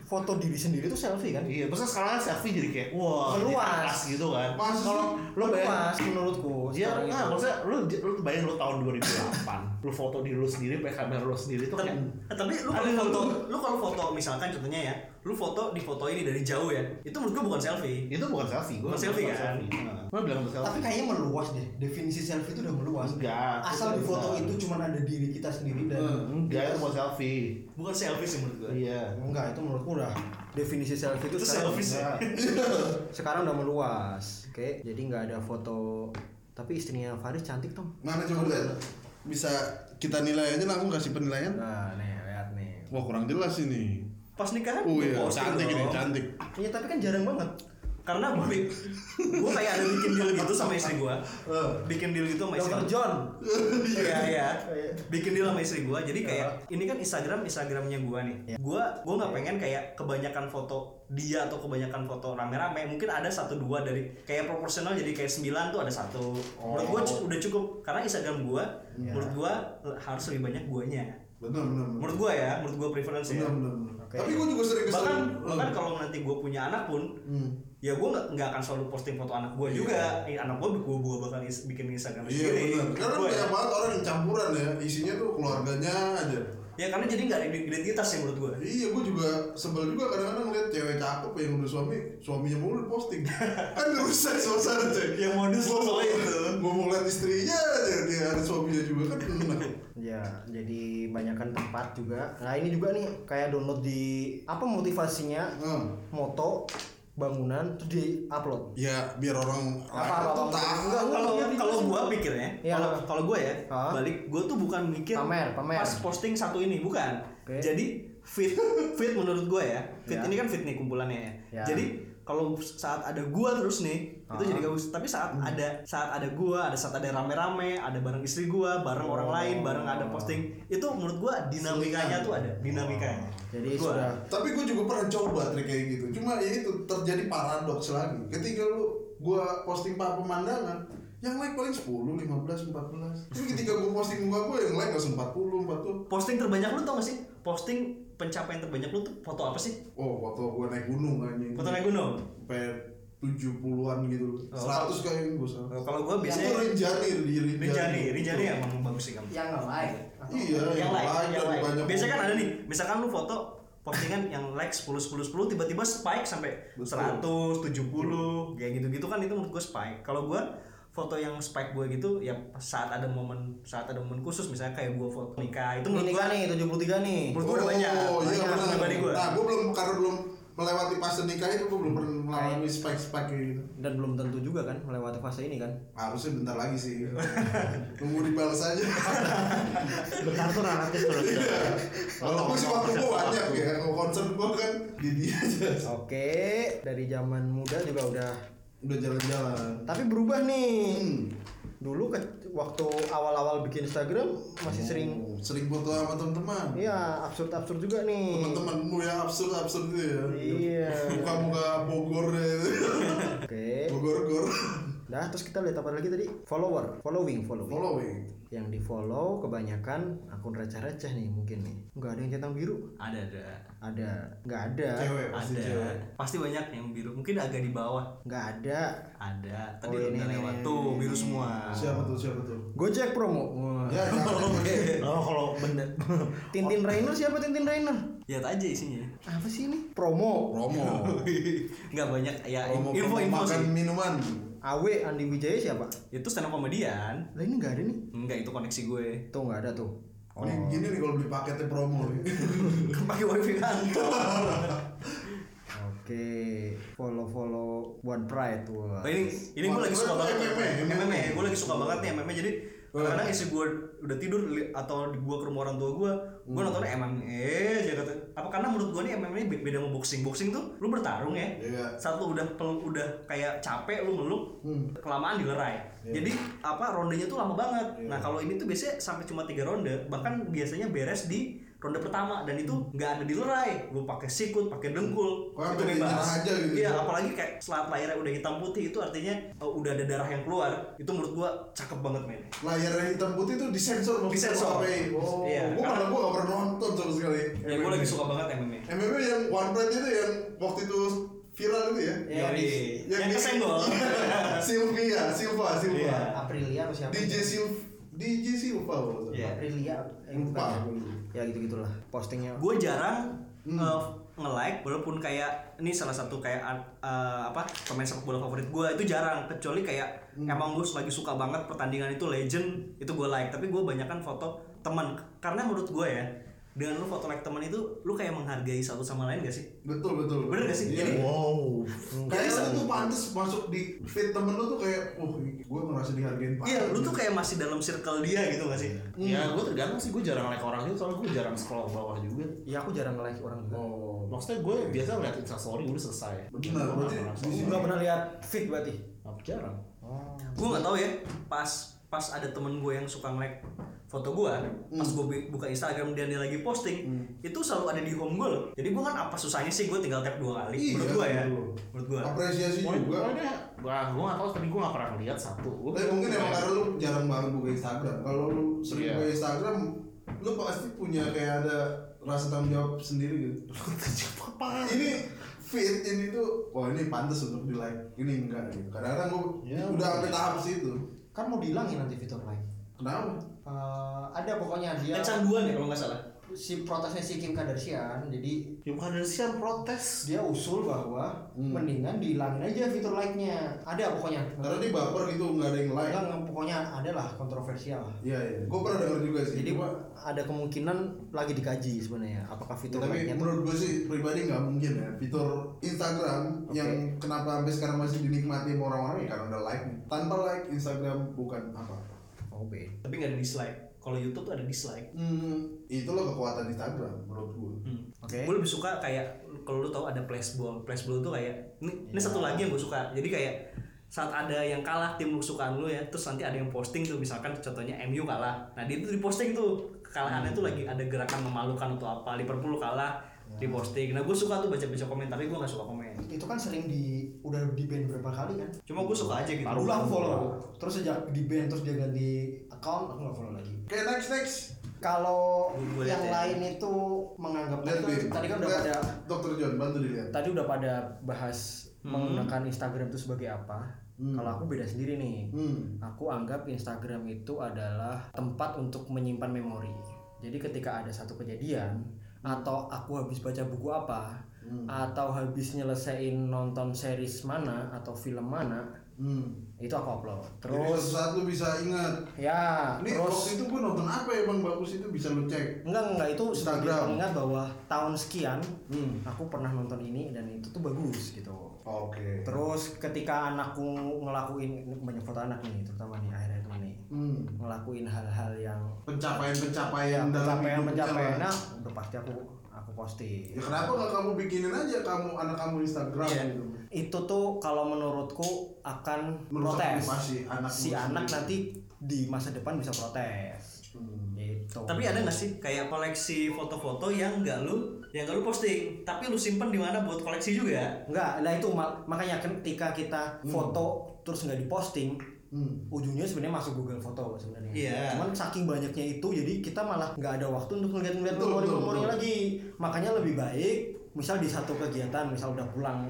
foto diri sendiri tuh selfie kan?
iya, terus sekarang kan selfie jadi kayak wah jadi
Meluas.
atas gitu kan.
Masa sih?
Kalau lu bayangin
Mas menurutku
Iya,
sekarang
nggak,
itu.
maksudnya lu, lu bayangin lu tahun 2008 [laughs] Lu foto diri lu sendiri, pakai kamera lu sendiri tuh kayak
Eh, tapi lu kalau
Aduh.
foto, lu kalau foto misalkan contohnya ya, lu foto di foto ini dari jauh ya, itu menurut gua bukan selfie.
Itu bukan selfie, gua
Bukan selfie, kan?
Gue bilang bukan selfie
Tapi kayaknya meluas deh. Definisi selfie itu udah meluas.
Enggak
Asal di foto itu cuma ada diri kita sendiri dan
Hmm,
Enggak, itu bukan selfie
Bukan selfie sih menurut gua.
Iya
enggak itu menurutku udah definisi selfie itu
Itu
sekarang,
selfie sih.
[laughs]
Enggak.
sekarang udah meluas. Oke, jadi nggak ada foto tapi istrinya Faris cantik Tom.
Mana coba lihat? Bisa kita nilai aja lah aku kasih penilaian.
Nah, nih lihat nih.
Wah kurang jelas ini.
Pas nikahan
Oh iya,
gua posting
cantik ini,
dong.
cantik.
Iya, tapi kan jarang banget.
Karena gua, [laughs] gua kayak ada bikin deal gitu sama istri gua. Bikin deal gitu sama istri
Dr.
gua.
John.
[laughs] Iya iya. Bikin deal sama istri gua. Jadi kayak ini kan Instagram Instagramnya gua nih. Gua gua nggak pengen kayak kebanyakan foto dia atau kebanyakan foto rame-rame. Mungkin ada satu dua dari kayak proporsional jadi kayak 9 tuh ada satu. Menurut gua cu- udah cukup karena Instagram gua menurut gua l- harus lebih banyak guanya.
Benar benar. benar.
Menurut gua ya, menurut gua preference ya.
Benar benar. benar. Tapi gue juga sering kesel.
Bahkan
Eh.
bahkan kalau nanti gua punya anak pun
Hmm.
ya gue nggak nggak akan selalu posting foto anak gue juga Eh, anak gue gue gue bakal is- bikin instagram
Iya benar. Karena
Gua ya.
banyak banget orang yang campuran ya, isinya tuh keluarganya aja.
ya karena jadi nggak ada identitas sih menurut gue
Iya, gue juga sebel juga kadang-kadang ngeliat cewek cakep yang udah suami, suaminya mulu di posting. kan rusak suasana cuy.
Yang modus
Gua
tuh
mau-
soalnya itu.
Gua mau ngeliat istrinya aja, dia ada suaminya juga kan. enak.
Ya, jadi banyakkan tempat juga. Nah, ini juga nih kayak download di apa motivasinya
Hmm.
moto bangunan terus di upload.
Ya biar orang
Apa,
rakyat
apa,
tuh tahu.
apa, enggak, enggak.
kalau
iya,
kalau gue pikirnya
Iya.
kalau kalau gue ya
Hah?
balik gue tuh bukan mikir
Pamer, pamer.
pas posting satu ini bukan
Oke.
jadi fit [laughs] fit menurut gue ya fit
Ya.
ini kan fit nih kumpulannya ya
Ya.
jadi kalau saat ada gua terus nih
Ah.
itu jadi gabus tapi saat ada saat ada gua ada saat ada rame-rame ada bareng istri gua bareng orang
Oh.
lain bareng ada posting itu menurut gua dinamikanya tuh ada dinamikanya
Oh. Jadi
Menurut gua.
sudah
Tapi gue juga pernah coba trik kayak gitu. Cuma ya itu terjadi paradoks lagi. Ketika lu gua posting pak pemandangan, yang like paling 10, 15, 14. Tapi ketika gue posting muka gue yang like langsung 40, 40.
posting terbanyak lu tau gak sih posting pencapaian terbanyak lu tuh foto apa sih
Oh, waktu gue naik gunung anjing.
foto naik gunung
sampai 70-an gitu.
Oh,
100 kayaknya gue salah.
Nah, kalau gua
Itu
biasanya
Rinjani, di Rinjani.
Rinjani, Rinjani emang bagus sih kamu.
yang nge-like.
Iya,
yang like, yang
banyak-
like.
banyak.
Biasanya kan ada nih, misalkan lu foto postingan yang like 10 10 10 tiba-tiba spike sampai
Betul.
100, 70, kayak gitu-gitu kan itu menurut gue spike. Kalau gua foto yang spike gue gitu ya pas saat ada momen saat ada momen khusus misalnya kayak gua foto nikah itu menurut
ini
gue
kan nih 73 nih.
menurut gua udah banyak
Oh, iya
banyak
benar.
pribadi gue
Nah, gue belum karena belum melewati fase nikah itu gue belum pernah mengalami spek-spek kayak gitu.
dan belum tentu juga kan melewati fase ini kan
Harusnya bentar lagi
[laughs]
sih. Nunggu dibalas aja.
Bentar tuh relatif terus.
Kalau aku sih waktu gue banyak ya. Kalau concern gue kan di dia aja.
oke dari zaman muda juga udah
Udah jalan-jalan.
tapi berubah nih
Hmm.
dulu ke- waktu awal-awal bikin Instagram masih sering
Oh, sering foto sama teman-teman.
iya absurd-absurd juga nih
Teman-temanmu yang absurd-absurd itu ya.
Iya.
Muka-muka Bogor
[laughs]
itu.
oke
Bogor-gor.
Nah, terus kita lihat apa lagi tadi? Follower, following, following.
Following.
Yang di follow kebanyakan akun receh-receh nih mungkin nih. Nggak ada yang centang biru.
ada ada
Ada, nggak ada,
Cewek pasti
ada
cewek.
pasti banyak yang biru mungkin agak di bawah
nggak ada.
ada tadi
Oh, ini,
udah
ini,
lewat
ini,
tuh
ini,
biru
ini.
semua
Siapa tuh? Siapa tuh?
Gojek promo. Wah.
[laughs]
Ya, jangan.
Oh, kalau benda
Tintin Rainer siapa Tintin Rainer?
lihat aja isinya
Apa sih ini? Promo.
Promo.
[laughs] nggak banyak ya
Promo
info
promo
info
makan
sih
minuman.
AW Andi Wijaya siapa?
itu stand up komedian
Lah ini nggak ada nih.
enggak itu koneksi gue [laughs]
Tuh nggak ada tuh.
Oh.
Ini gini nih kalau beli paketnya promo
[laughs]
nih.
Kan pakai wifi kantor
Oke, follow-follow One Pride. Wah.
Oh, ini ini gue lagi suka
Wah,
banget
MMA.
MMA gue lagi suka banget nih MMA jadi kadang-kadang istri gue udah tidur li- atau di gue ke rumah orang tua gue gue
Hmm.
nontonnya MMA aja kata apa karena menurut gue nih MMA be- beda sama boxing boxing tuh lu bertarung ya
Iya.
saat lu udah pel- udah kayak capek lu meluk
Hmm.
kelamaan dilerai
Iya.
jadi apa rondenya tuh lama banget nah kalau ini tuh biasanya sampai cuma tiga ronde bahkan biasanya beres di ronde pertama dan itu
Hmm.
nggak ada dilerai lu pakai sikut pakai dengkul
Wah,
Itu
udah
bebas.
nyerah aja gitu.
iya apalagi kayak selat layarnya udah hitam putih itu artinya eh, udah ada darah yang keluar itu menurut gua cakep banget men
Layarnya hitam putih tuh disensor sama
Disensor.
HP. Oh,
Iya.
gua malah gua gak pernah nonton sama sekali.
ya gua lagi suka banget MMA
MMA yang One Pride itu yang waktu itu viral itu ya.
Ya,
Yori.
di-
Iya, yang
di-
kesenggol
[laughs] Sylvia, Silva, Silva.
Iya.
Aprilia atau siapa?
DJ Silva, DJ Silva. kalau nggak salah.
Iya.
Aprilia. Eh,
Lupa.
bukan. Ya gitu-gitulah. Postingnya
gue jarang
Hmm.
eh, nge-like walaupun kayak ini salah satu kayak eh, apa pemain sepak bola favorit gue itu jarang kecuali kayak
Hmm.
emang gue lagi suka banget pertandingan itu legend itu gue like tapi gue banyakkan foto teman karena menurut gue ya dengan lu foto like teman itu lu kayak menghargai satu sama lain gak sih
Betul, betul.
Bener nggak sih?
Iya.
Jadi-
wow.
Kayaknya itu pantas masuk di feed temen lu tuh kayak, wah, gue ngerasa dihargain banget.
Iya, lu tuh kayak masih dalam circle dia gitu gak sih?
Iya.
Ya gue tergantung sih gue jarang like orang itu soalnya gue jarang scroll bawah juga.
Ya aku jarang nge-like orang juga.
Oh,
Maksudnya gue biasa ngeliat instastory udah selesai.
Benar,
Gue
berarti
nggak
di sini-
Nggak pernah lihat feed berarti.
Apa jarang?
Gue nggak tahu ya. Pas pas ada temen gue yang suka nge-like foto gue, pas
Hmm.
gue buka Instagram dan dia lagi posting, itu selalu ada di home gue. loh. Jadi gue kan apa susahnya sih gue tinggal tap dua kali.
Iya,
menurut gue ya.
betul.
Menurut gue.
apresiasi juga.
Pokoknya wah gue nggak tahu tapi gue nggak pernah ngeliat satu. Gue
Tapi mungkin emang karena lu jarang banget buka Instagram. Kalau lu sering
Iya.
buka Instagram, lu pasti punya kayak ada rasa tanggung jawab sendiri gitu. ini fit ini tuh, wah ini pantas untuk di like. Ini enggak gitu. Kadang-kadang gua
Iya,
Ya,
udah sampai
mungkin.
tahap situ.
Kan mau dihilangin nanti fitur like.
Kenapa?
Eh, ada pokoknya dia
Kecanduan ya kalau nggak salah.
si protesnya si Kim Kardashian. Jadi
Ya bukan dari sian protes.
dia usul bahwa mendingan dihilangin aja fitur like-nya. Ada pokoknya.
Karena dia baper gitu nggak ada yang like.
Enggak, enggak, pokoknya ada lah kontroversial. lah.
Iya iya. Gue pernah denger juga sih.
Jadi
Cuma,
ada kemungkinan lagi dikaji sebenarnya apakah fitur
tapi
like-nya
menurut gue sih pribadi nggak mungkin ya fitur Instagram yang kenapa sampai sekarang masih dinikmati sama orang-orang ya karena udah like tanpa like Instagram bukan apa-apa
Oh, be.
Tapi nggak ada dislike. Kalau YouTube tuh ada dislike.
Hmm, itulah kekuatan Instagram menurut gue.
Hmm.
Oke.
Gue lebih suka kayak kalau lu tahu ada flashball. Flashball tuh kayak ini, ini satu
Iya.
lagi yang gue suka. Jadi kayak saat ada yang kalah tim kesukaan lu ya terus nanti ada yang posting tuh misalkan contohnya MU kalah nah dia itu diposting tuh kekalahannya tuh
Hmm.
lagi ada gerakan memalukan atau apa Liverpool kalah diposting nah gue suka tuh baca-baca komentar tapi gue gak suka komen
Itu kan sering di udah di ban berapa kali kan?
cuma gue suka aja gitu
Dulu aku follow. Terus sejak di ban terus dia ganti account aku nggak follow lagi.
Oke next next.
Kalau
Gua- gua lihat
yang
ya.
lain itu menganggap
Lihat
itu
Bim.
tadi kan udah
Lihat,
pada
Dr. John bantu dilihat.
tadi udah pada bahas
Hmm.
menggunakan Instagram itu sebagai apa. Kalau aku beda sendiri nih.
Hmm.
Aku anggap Instagram itu adalah tempat untuk menyimpan memori. Jadi ketika ada satu kejadian atau aku habis baca buku
hmm,
apa atau habis nyelesain nonton series mana atau film mana,
Hmm.
itu aku upload
Jadi
terus
suatu saat lu bisa ingat.
ya
Ini
terus
waktu itu gue nonton apa ya bang bagus itu bisa lu cek.
enggak enggak itu sebagai
Instagram.
pengingat bahwa tahun sekian
Hmm.
aku pernah nonton ini dan itu tuh bagus gitu
Oke.
Terus ketika anakku ngelakuin ini banyak foto anak nih, terutama di akhir-akhir ini
Hmm.
ngelakuin hal-hal yang
Pencapaian-pencapaian dalam
pencapaian
hidupnya,
pencapaian
Bang.
nah, Iya, udah pasti aku aku posting.
Ya kenapa nggak kamu bikinin aja kamu anak kamu Instagram
Iya.
gitu.
Itu tuh kalau menurutku akan
Merusak
protes.
privasi anak
si
lu
anak
sendiri.
nanti di masa depan bisa protes.
Hmm.
Gitu.
Tapi ada nggak sih kayak koleksi foto-foto yang nggak lu yang nggak lu posting, tapi lu simpen di mana buat koleksi juga?
Enggak, nah itu ma- makanya ketika kita foto terus nggak diposting,
Hmm.
ujungnya sebenarnya masuk Google Foto sebenarnya.
Iya.
Cuman saking banyaknya itu jadi kita malah nggak ada waktu untuk ngeliat-ngeliat
Betul, betul,
memori-memorinya
betul.
lagi. Makanya lebih baik misal di satu kegiatan, misal udah pulang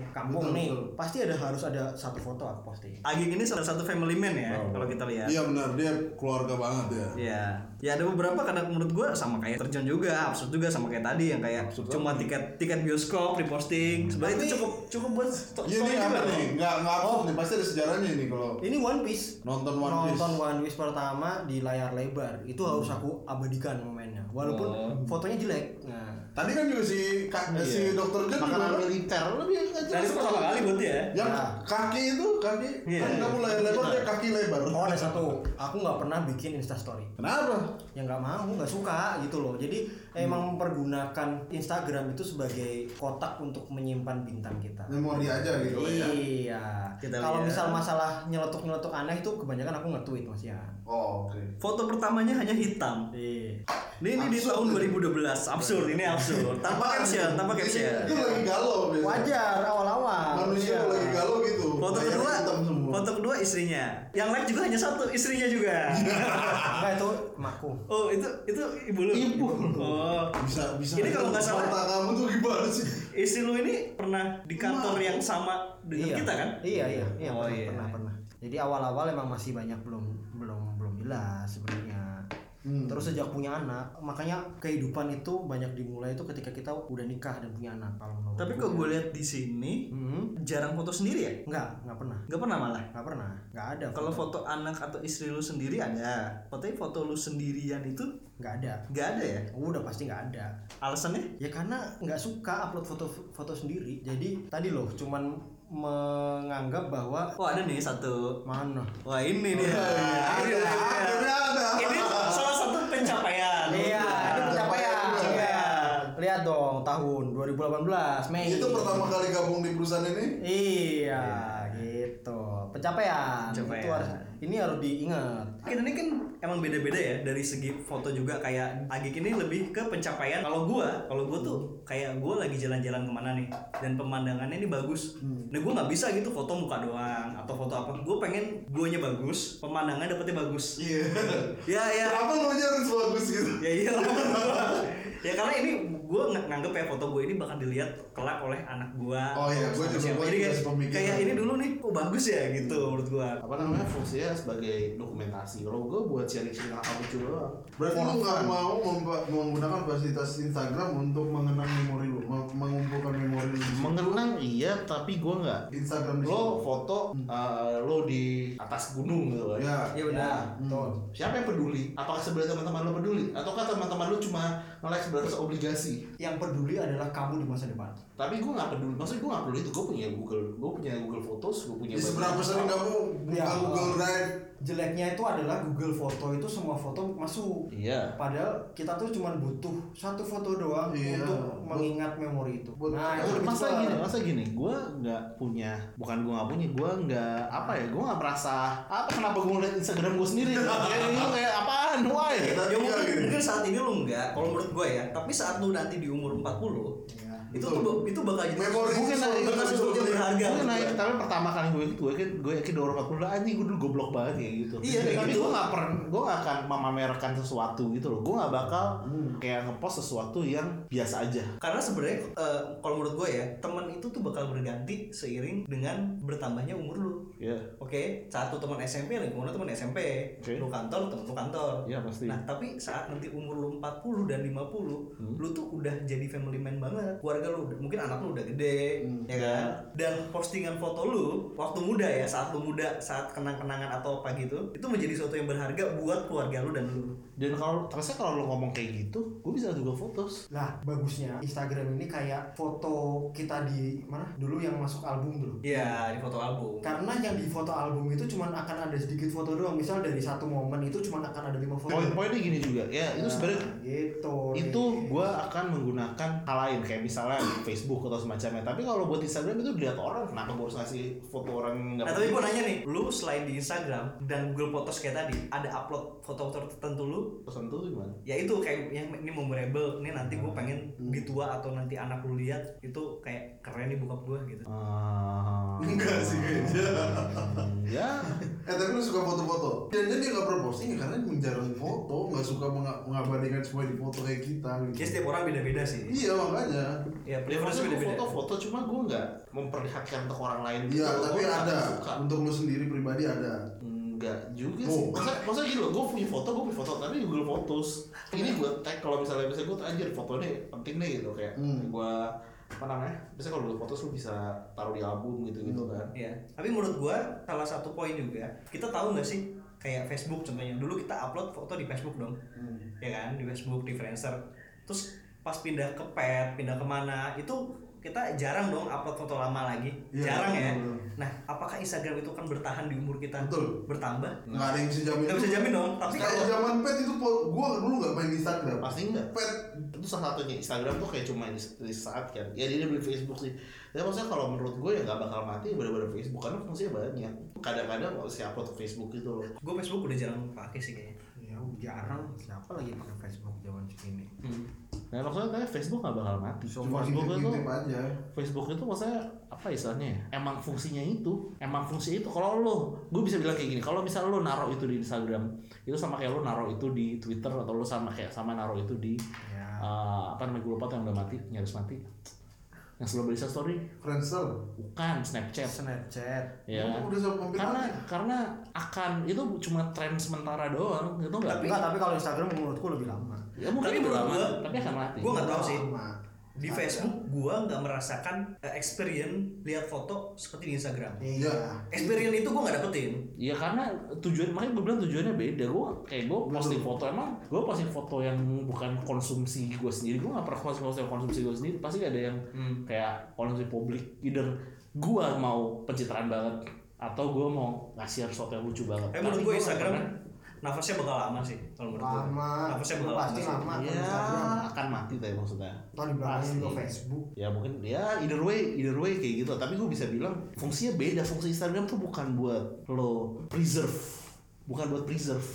Betul,
kampung nih,
betul.
pasti ada harus ada satu foto aku posting.
Agik ini salah satu family man ya, kalau kita lihat.
Iya benar dia keluarga banget ya.
Ya, ya ada beberapa karena menurut gua sama kayak terjun juga, absurd juga sama kayak tadi yang kayak cuma tiket tiket bioskop reposting. Sebenarnya itu cukup cukup buat sto-
Hmm. Iya nih
story juga
apa
loh.
nih? Nggak nggak absurd nih pasti ada sejarahnya nih kalau
Ini One Piece.
nonton One Piece. Hmm.
Nonton One Piece pertama di layar lebar itu harus aku abadikan momennya, walaupun fotonya jelek. Nah,
Tadi kan juga si kak, si dokter John juga
makanan
kan?
militer lu biar nggak
Dan
jelas
itu pertama kali ya. buat dia.
yang
Nah.
kaki itu kaki
Iya.
kan kamu lebar lebar dia kaki lebar.
oh ada satu, aku nggak pernah bikin Insta Story.
Kenapa?
yang Ya, nggak mau nggak suka gitu loh jadi
Hmm.
emang mempergunakan Instagram itu sebagai kotak untuk menyimpan bintang kita
Memori aja gitu lah ya.
iya
Kita
kalau
lihat.
misal masalah nyeletuk nyeletuk aneh itu kebanyakan aku nge-tweet mas ya
Oh, oke.
Foto pertamanya hanya hitam.
iya
Ini, ini di tahun 2012, absurd ini
[laughs]
absurd. Tanpa caption,
Iya.
tanpa
Itu
caption.
lagi galau biasanya.
wajar awal-awal Iya.
Manusia kalau lagi galau gitu.
Foto
layarnya
kedua,
hitam semua.
foto kedua istrinya. Yang like juga hanya satu, istrinya juga.
Iya.
enggak itu emakku
Oh itu itu ibu lu.
Ibu.
Oh
bisa bisa.
Ini kalau nggak salah-
mata kamu tuh gimana sih?
istri lu ini pernah di kantor yang sama dengan
iya.
kita kan?
iya iya iya
Oh,
pernah,
iya.
pernah pernah jadi awal-awal emang masih banyak belum belum belum jelas sebenarnya
Hmm.
Terus sejak punya anak, makanya kehidupan itu banyak dimulai itu ketika kita udah nikah dan punya anak kalau menurut
Tapi
gue
kok
ya.
gue lihat di sini
Hmm.
jarang foto sendiri ya?
Enggak, enggak pernah.
Gak pernah malah.
Enggak pernah. Enggak ada.
Kalau foto anak atau istri lu sendiri ada, tapi foto lu sendirian itu
enggak ada.
nggak ada ya?
Udah pasti enggak ada.
Alasannya?
Ya karena enggak suka upload foto-foto sendiri. Jadi tadi loh cuman menganggap bahwa
Oh ada nih satu.
mana
Wah ini dia. Ini
Ada,
dia.
ada, ada.
Ini salah satu pencapaian.
Iya, ini pencapaian.
Pencapaian.
Lihat dong tahun 2018 Mei.
Iya.
Itu pertama kali gabung di perusahaan ini.
Iya, gitu. Pencapaian.
Pencapaian.
Itu harus ini harus diingat.
Kita ini kan emang beda-beda ya dari segi foto juga kayak Agik ini lebih ke pencapaian. Kalau gua, kalau gua tuh kayak gua lagi jalan-jalan kemana nih dan pemandangannya ini bagus.
Hmm.
Nah gua nggak bisa gitu foto muka doang atau foto apa. Gua pengen guanya bagus, pemandangan dapetnya bagus.
Iya.
Ya ya.
[laughs] Kenapa lu aja harus bagus gitu?
Ya iya. [laughs] ya karena ini gue nganggep ya foto gue ini bakal dilihat kelak oleh anak gue.
Oh iya, gua juga- gua juga
kayak,
sepemikiran.
kayak ini dulu nih, oh bagus ya gitu menurut gue.
apa namanya fungsinya sebagai dokumentasi kalau gue buat sharing-sharing hal lucu doang
Berarti
For
lu kan? nggak
fun.
mau mempa- menggunakan fasilitas Instagram untuk mengenang memori lu, mem- mengumpulkan memori lu.
mengenang iya tapi gue nggak
Instagram di
lo foto eh, lo di atas gunung gitu kan
Hmm. Ya.
Iya benar. Betul.
siapa yang peduli apakah sebenarnya teman-teman lo peduli ataukah teman-teman lo cuma nge-like sebatas obligasi
Yang peduli adalah kamu di masa depan.
tapi gue nggak peduli maksudnya gue nggak peduli itu gue punya Google gue punya Google Photos gue punya
Di
banyak-
seberapa sering kamu buka
Ya.
Google Drive?
jeleknya itu adalah Google Foto itu semua foto masuk
iya
padahal kita tuh cuma butuh satu foto doang
Iya.
untuk mengingat memori itu
buat-
nah itu
Tapi
lebih
masa
cepat.
gini, masa gini, gue nggak punya, bukan gue nggak punya, gue nggak apa ya, gue nggak merasa apa kenapa gue ngeliat Instagram gue
[laughs]
sendiri, kayak itu kayak apaan, why?
Ya
Iya,
mungkin,
gitu.
mungkin saat ini lu enggak, kalau menurut gue ya. Tapi saat lu nanti di umur 40 itu
Iya, betul.
tuh itu bakal jadi
Memori
Mungkin
sesuatu
ada-
yang
bakal sesuatu yang
betul.
berharga.
Gue
menurut
naik,
gua.
tapi pertama kali gue gitu, gue yakin, gue yakin di orang 40 anjing gue dulu goblok banget kayak gitu.
Iya, kayak
tapi
gitu.
gue nggak pernah, gue nggak akan memamerkan sesuatu gitu loh, gue nggak bakal kayak ngepost sesuatu yang biasa aja.
Karena sebenarnya eh, kalau menurut gue ya, teman itu tuh bakal berganti seiring dengan bertambahnya umur lu.
Iya,
Oke, satu teman SMP, lingkungan lu teman SMP,
Oke.
lu kantor, temen lu kantor.
iya Hmm. pasti.
Nah, tapi saat nanti umur lu 40 dan 50, lu tuh udah jadi family man banget. Keluarga keluarga lu mungkin anak lu udah gede
Hmm.
ya kan dan postingan foto lu waktu muda ya saat lu muda saat kenang-kenangan atau apa gitu itu menjadi sesuatu yang berharga buat keluarga lu dan lu
Dan kalau terusnya kalau lu ngomong kayak gitu, gue bisa juga fotos.
Lah, bagusnya Instagram ini kayak foto kita di mana? Dulu yang masuk album dulu.
ya di foto album
Karena yang di foto album itu cuman akan ada sedikit foto doang. Misal dari satu momen itu cuman akan ada lima foto.
Poin-poinnya gini juga, ya
Nah,
itu sebenarnya
gitu.
itu gue akan menggunakan hal lain kayak misalnya Facebook atau semacamnya tapi kalau buat Instagram itu dilihat orang kenapa gue harus ngasih foto orang yang nggak
Nah tapi gue nanya nih, lu selain di Instagram dan Google Photos kayak tadi, ada upload foto-foto tertentu lu?
tertentu tuh gimana
Ya itu kayak yang ini memorable, ini nanti
Hmm.
gue pengen di tua atau nanti anak lu lihat itu kayak keren nih bokap gue gitu.
Ah,
Enggak sih kayaknya.
[laughs] ya
Eh tapi lu suka foto-foto? Jangan dia nggak proposing ya karena emang jarang foto, nggak suka menga- mengabadikan semua di foto kayak kita. Gitu.
Ya setiap orang beda-beda sih.
Iya makanya.
Ya
ya
preferensi
maksudnya gua
beda-beda.
foto-foto cuma gue nggak memperlihatkan ke orang lain gitu.
Iya
Gua
tapi
nggak
ada.
suka.
Untuk lu sendiri pribadi ada.
Enggak juga
Oh.
sih. Maksudnya, maksudnya gini loh, gue punya foto, gue punya foto, tapi Google Photos. Ini gue tag kalau misalnya misalnya gue anjir fotonya penting nih gitu kayak
Hmm.
gue apa namanya? Biasanya kalau Google Photos lu bisa taruh di album gitu
Hmm.
gitu kan.
Ya, tapi menurut gue salah satu poin juga, kita tahu nggak sih kayak Facebook contohnya. Dulu kita upload foto di Facebook dong, ya kan di Facebook di Friendster. Terus pas pindah ke Pet, pindah kemana itu kita jarang dong upload foto lama lagi,
Iya,
jarang ya.
betul.
Nah, apakah Instagram itu kan bertahan di umur kita
Betul.
bertambah?
Nggak ada yang bisa jamin.
Nah. Nggak bisa jamin dong. Tapi
Kayak
kalau
zaman pet itu po- gua dulu nggak main Instagram.
Pasti enggak.
Pet
Itu salah satunya Instagram tuh kayak cuma di, di saat kan. Ya dia beli Facebook sih. Tapi maksudnya kalau menurut gue ya nggak bakal mati bener-bener Facebook karena fungsinya banyak. Kadang-kadang nggak usah upload ke Facebook gitu loh.
gue Facebook udah jarang pakai sih kayaknya.
ya jarang siapa lagi pakai Facebook zaman segini.
Nah maksudnya kayak Facebook nggak bakal mati.
cuma
Facebook itu
ngintip aja.
Facebook itu maksudnya apa istilahnya ya? emang fungsinya itu emang fungsi itu kalau lo gue bisa bilang kayak gini kalau misalnya lo naruh itu di Instagram itu sama kayak lo naruh itu di Twitter atau lo sama kayak sama naruh itu di
Ya.
eh, apa namanya gue lupa tuh yang udah mati nyaris mati yang selalu berisa story
Friendster.
bukan Snapchat
Snapchat.
Iya.
ya
Itu
kan?
Udah ya? sama hampir
karena
mati.
karena akan itu cuma tren sementara doang itu enggak
Enggak, tapi kalau Instagram menurutku lebih lama.
ya mungkin
Tapi
itu
menurut
lama
gua-
tapi akan mati
Gue nggak tahu sih.
Lama.
Di Facebook gue nggak merasakan eh, experience lihat foto seperti di Instagram.
Iya.
Iya.
Experience itu gue nggak dapetin.
Ya karena tujuan makanya gue bilang tujuannya beda. Gue kayak gue posting foto emang gue posting foto yang bukan konsumsi gue sendiri. Gue gak pernah posting foto yang konsumsi gue sendiri. Pasti ada yang kayak konsumsi publik. Either gue mau pencitraan banget atau gue mau ngasih sesuatu yang lucu banget.
Eh menurut
Tapi
gue
gua
Instagram
nggak
nafasnya bakal lama sih kalau menurut gue.
Lama.
Nafasnya bakal lama.
pasti
sih.
lama
pernah-
kalau
ya
Instagram.
akan mati tapi maksudnya.
Tahun di belakangnya
Pasti.
juga Facebook.
Ya mungkin ya either way either way kayak gitu. Tapi gue bisa bilang fungsinya beda. Fungsi Instagram tuh bukan buat lo preserve, bukan buat preserve,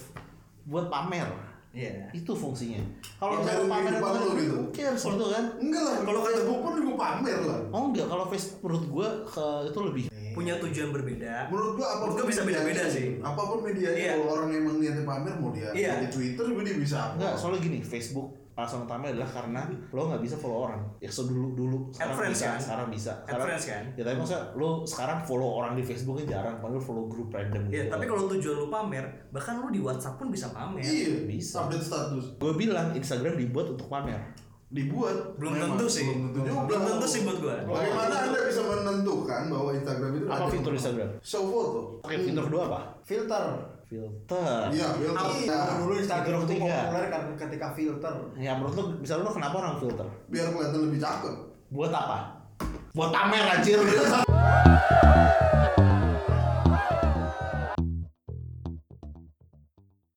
buat pamer.
Iya.
itu fungsinya kalau
Pamerin
misalnya pamer
kehidupan
pamer
lu gitu.
gitu cares gitu kan
Enggak lah. Kalau
Kalau kata-
Facebook pun juga pamer lah.
oh enggak kalau Facebook menurut gua ke, itu lebih
Punya tujuan berbeda.
Iya. Menurut gua apa
Menurut gua bisa beda-beda sih.
Apapun medianya
Iya.
kalau orang emang niatnya pamer mau dia
Iya.
di Twitter juga dia bisa. upload.
enggak soalnya gini Facebook alasan utama adalah karena lo nggak bisa follow orang ya so dulu dulu sekarang
Advance
bisa
kan?
sekarang bisa sekarang
Advance kan?
ya tapi maksudnya lo sekarang follow orang di Facebooknya jarang paling lo follow grup random
Iya,
gitu
tapi kalau tujuan lu pamer, bahkan lu di WhatsApp pun bisa pamer.
Iya,
Bisa.
Update status.
gue bilang Instagram dibuat untuk pamer
Dibuat.
Belum
Memang,
tentu sih.
Belum tentu, juga.
Belum tentu sih buat gue.
Bagaimana Anda bisa menentukan bahwa Instagram itu
apa
ada-
fitur Instagram
Show foto.
oke fitur kedua apa
Filter.
filter
Iya, filter.
Iya, dulu Instagram
Fitur
itu
ketiga.
populer kan ketika filter.
ya menurut lo misalnya lo kenapa orang filter
biar kelihatan lebih cakep.
buat apa buat pamer anjir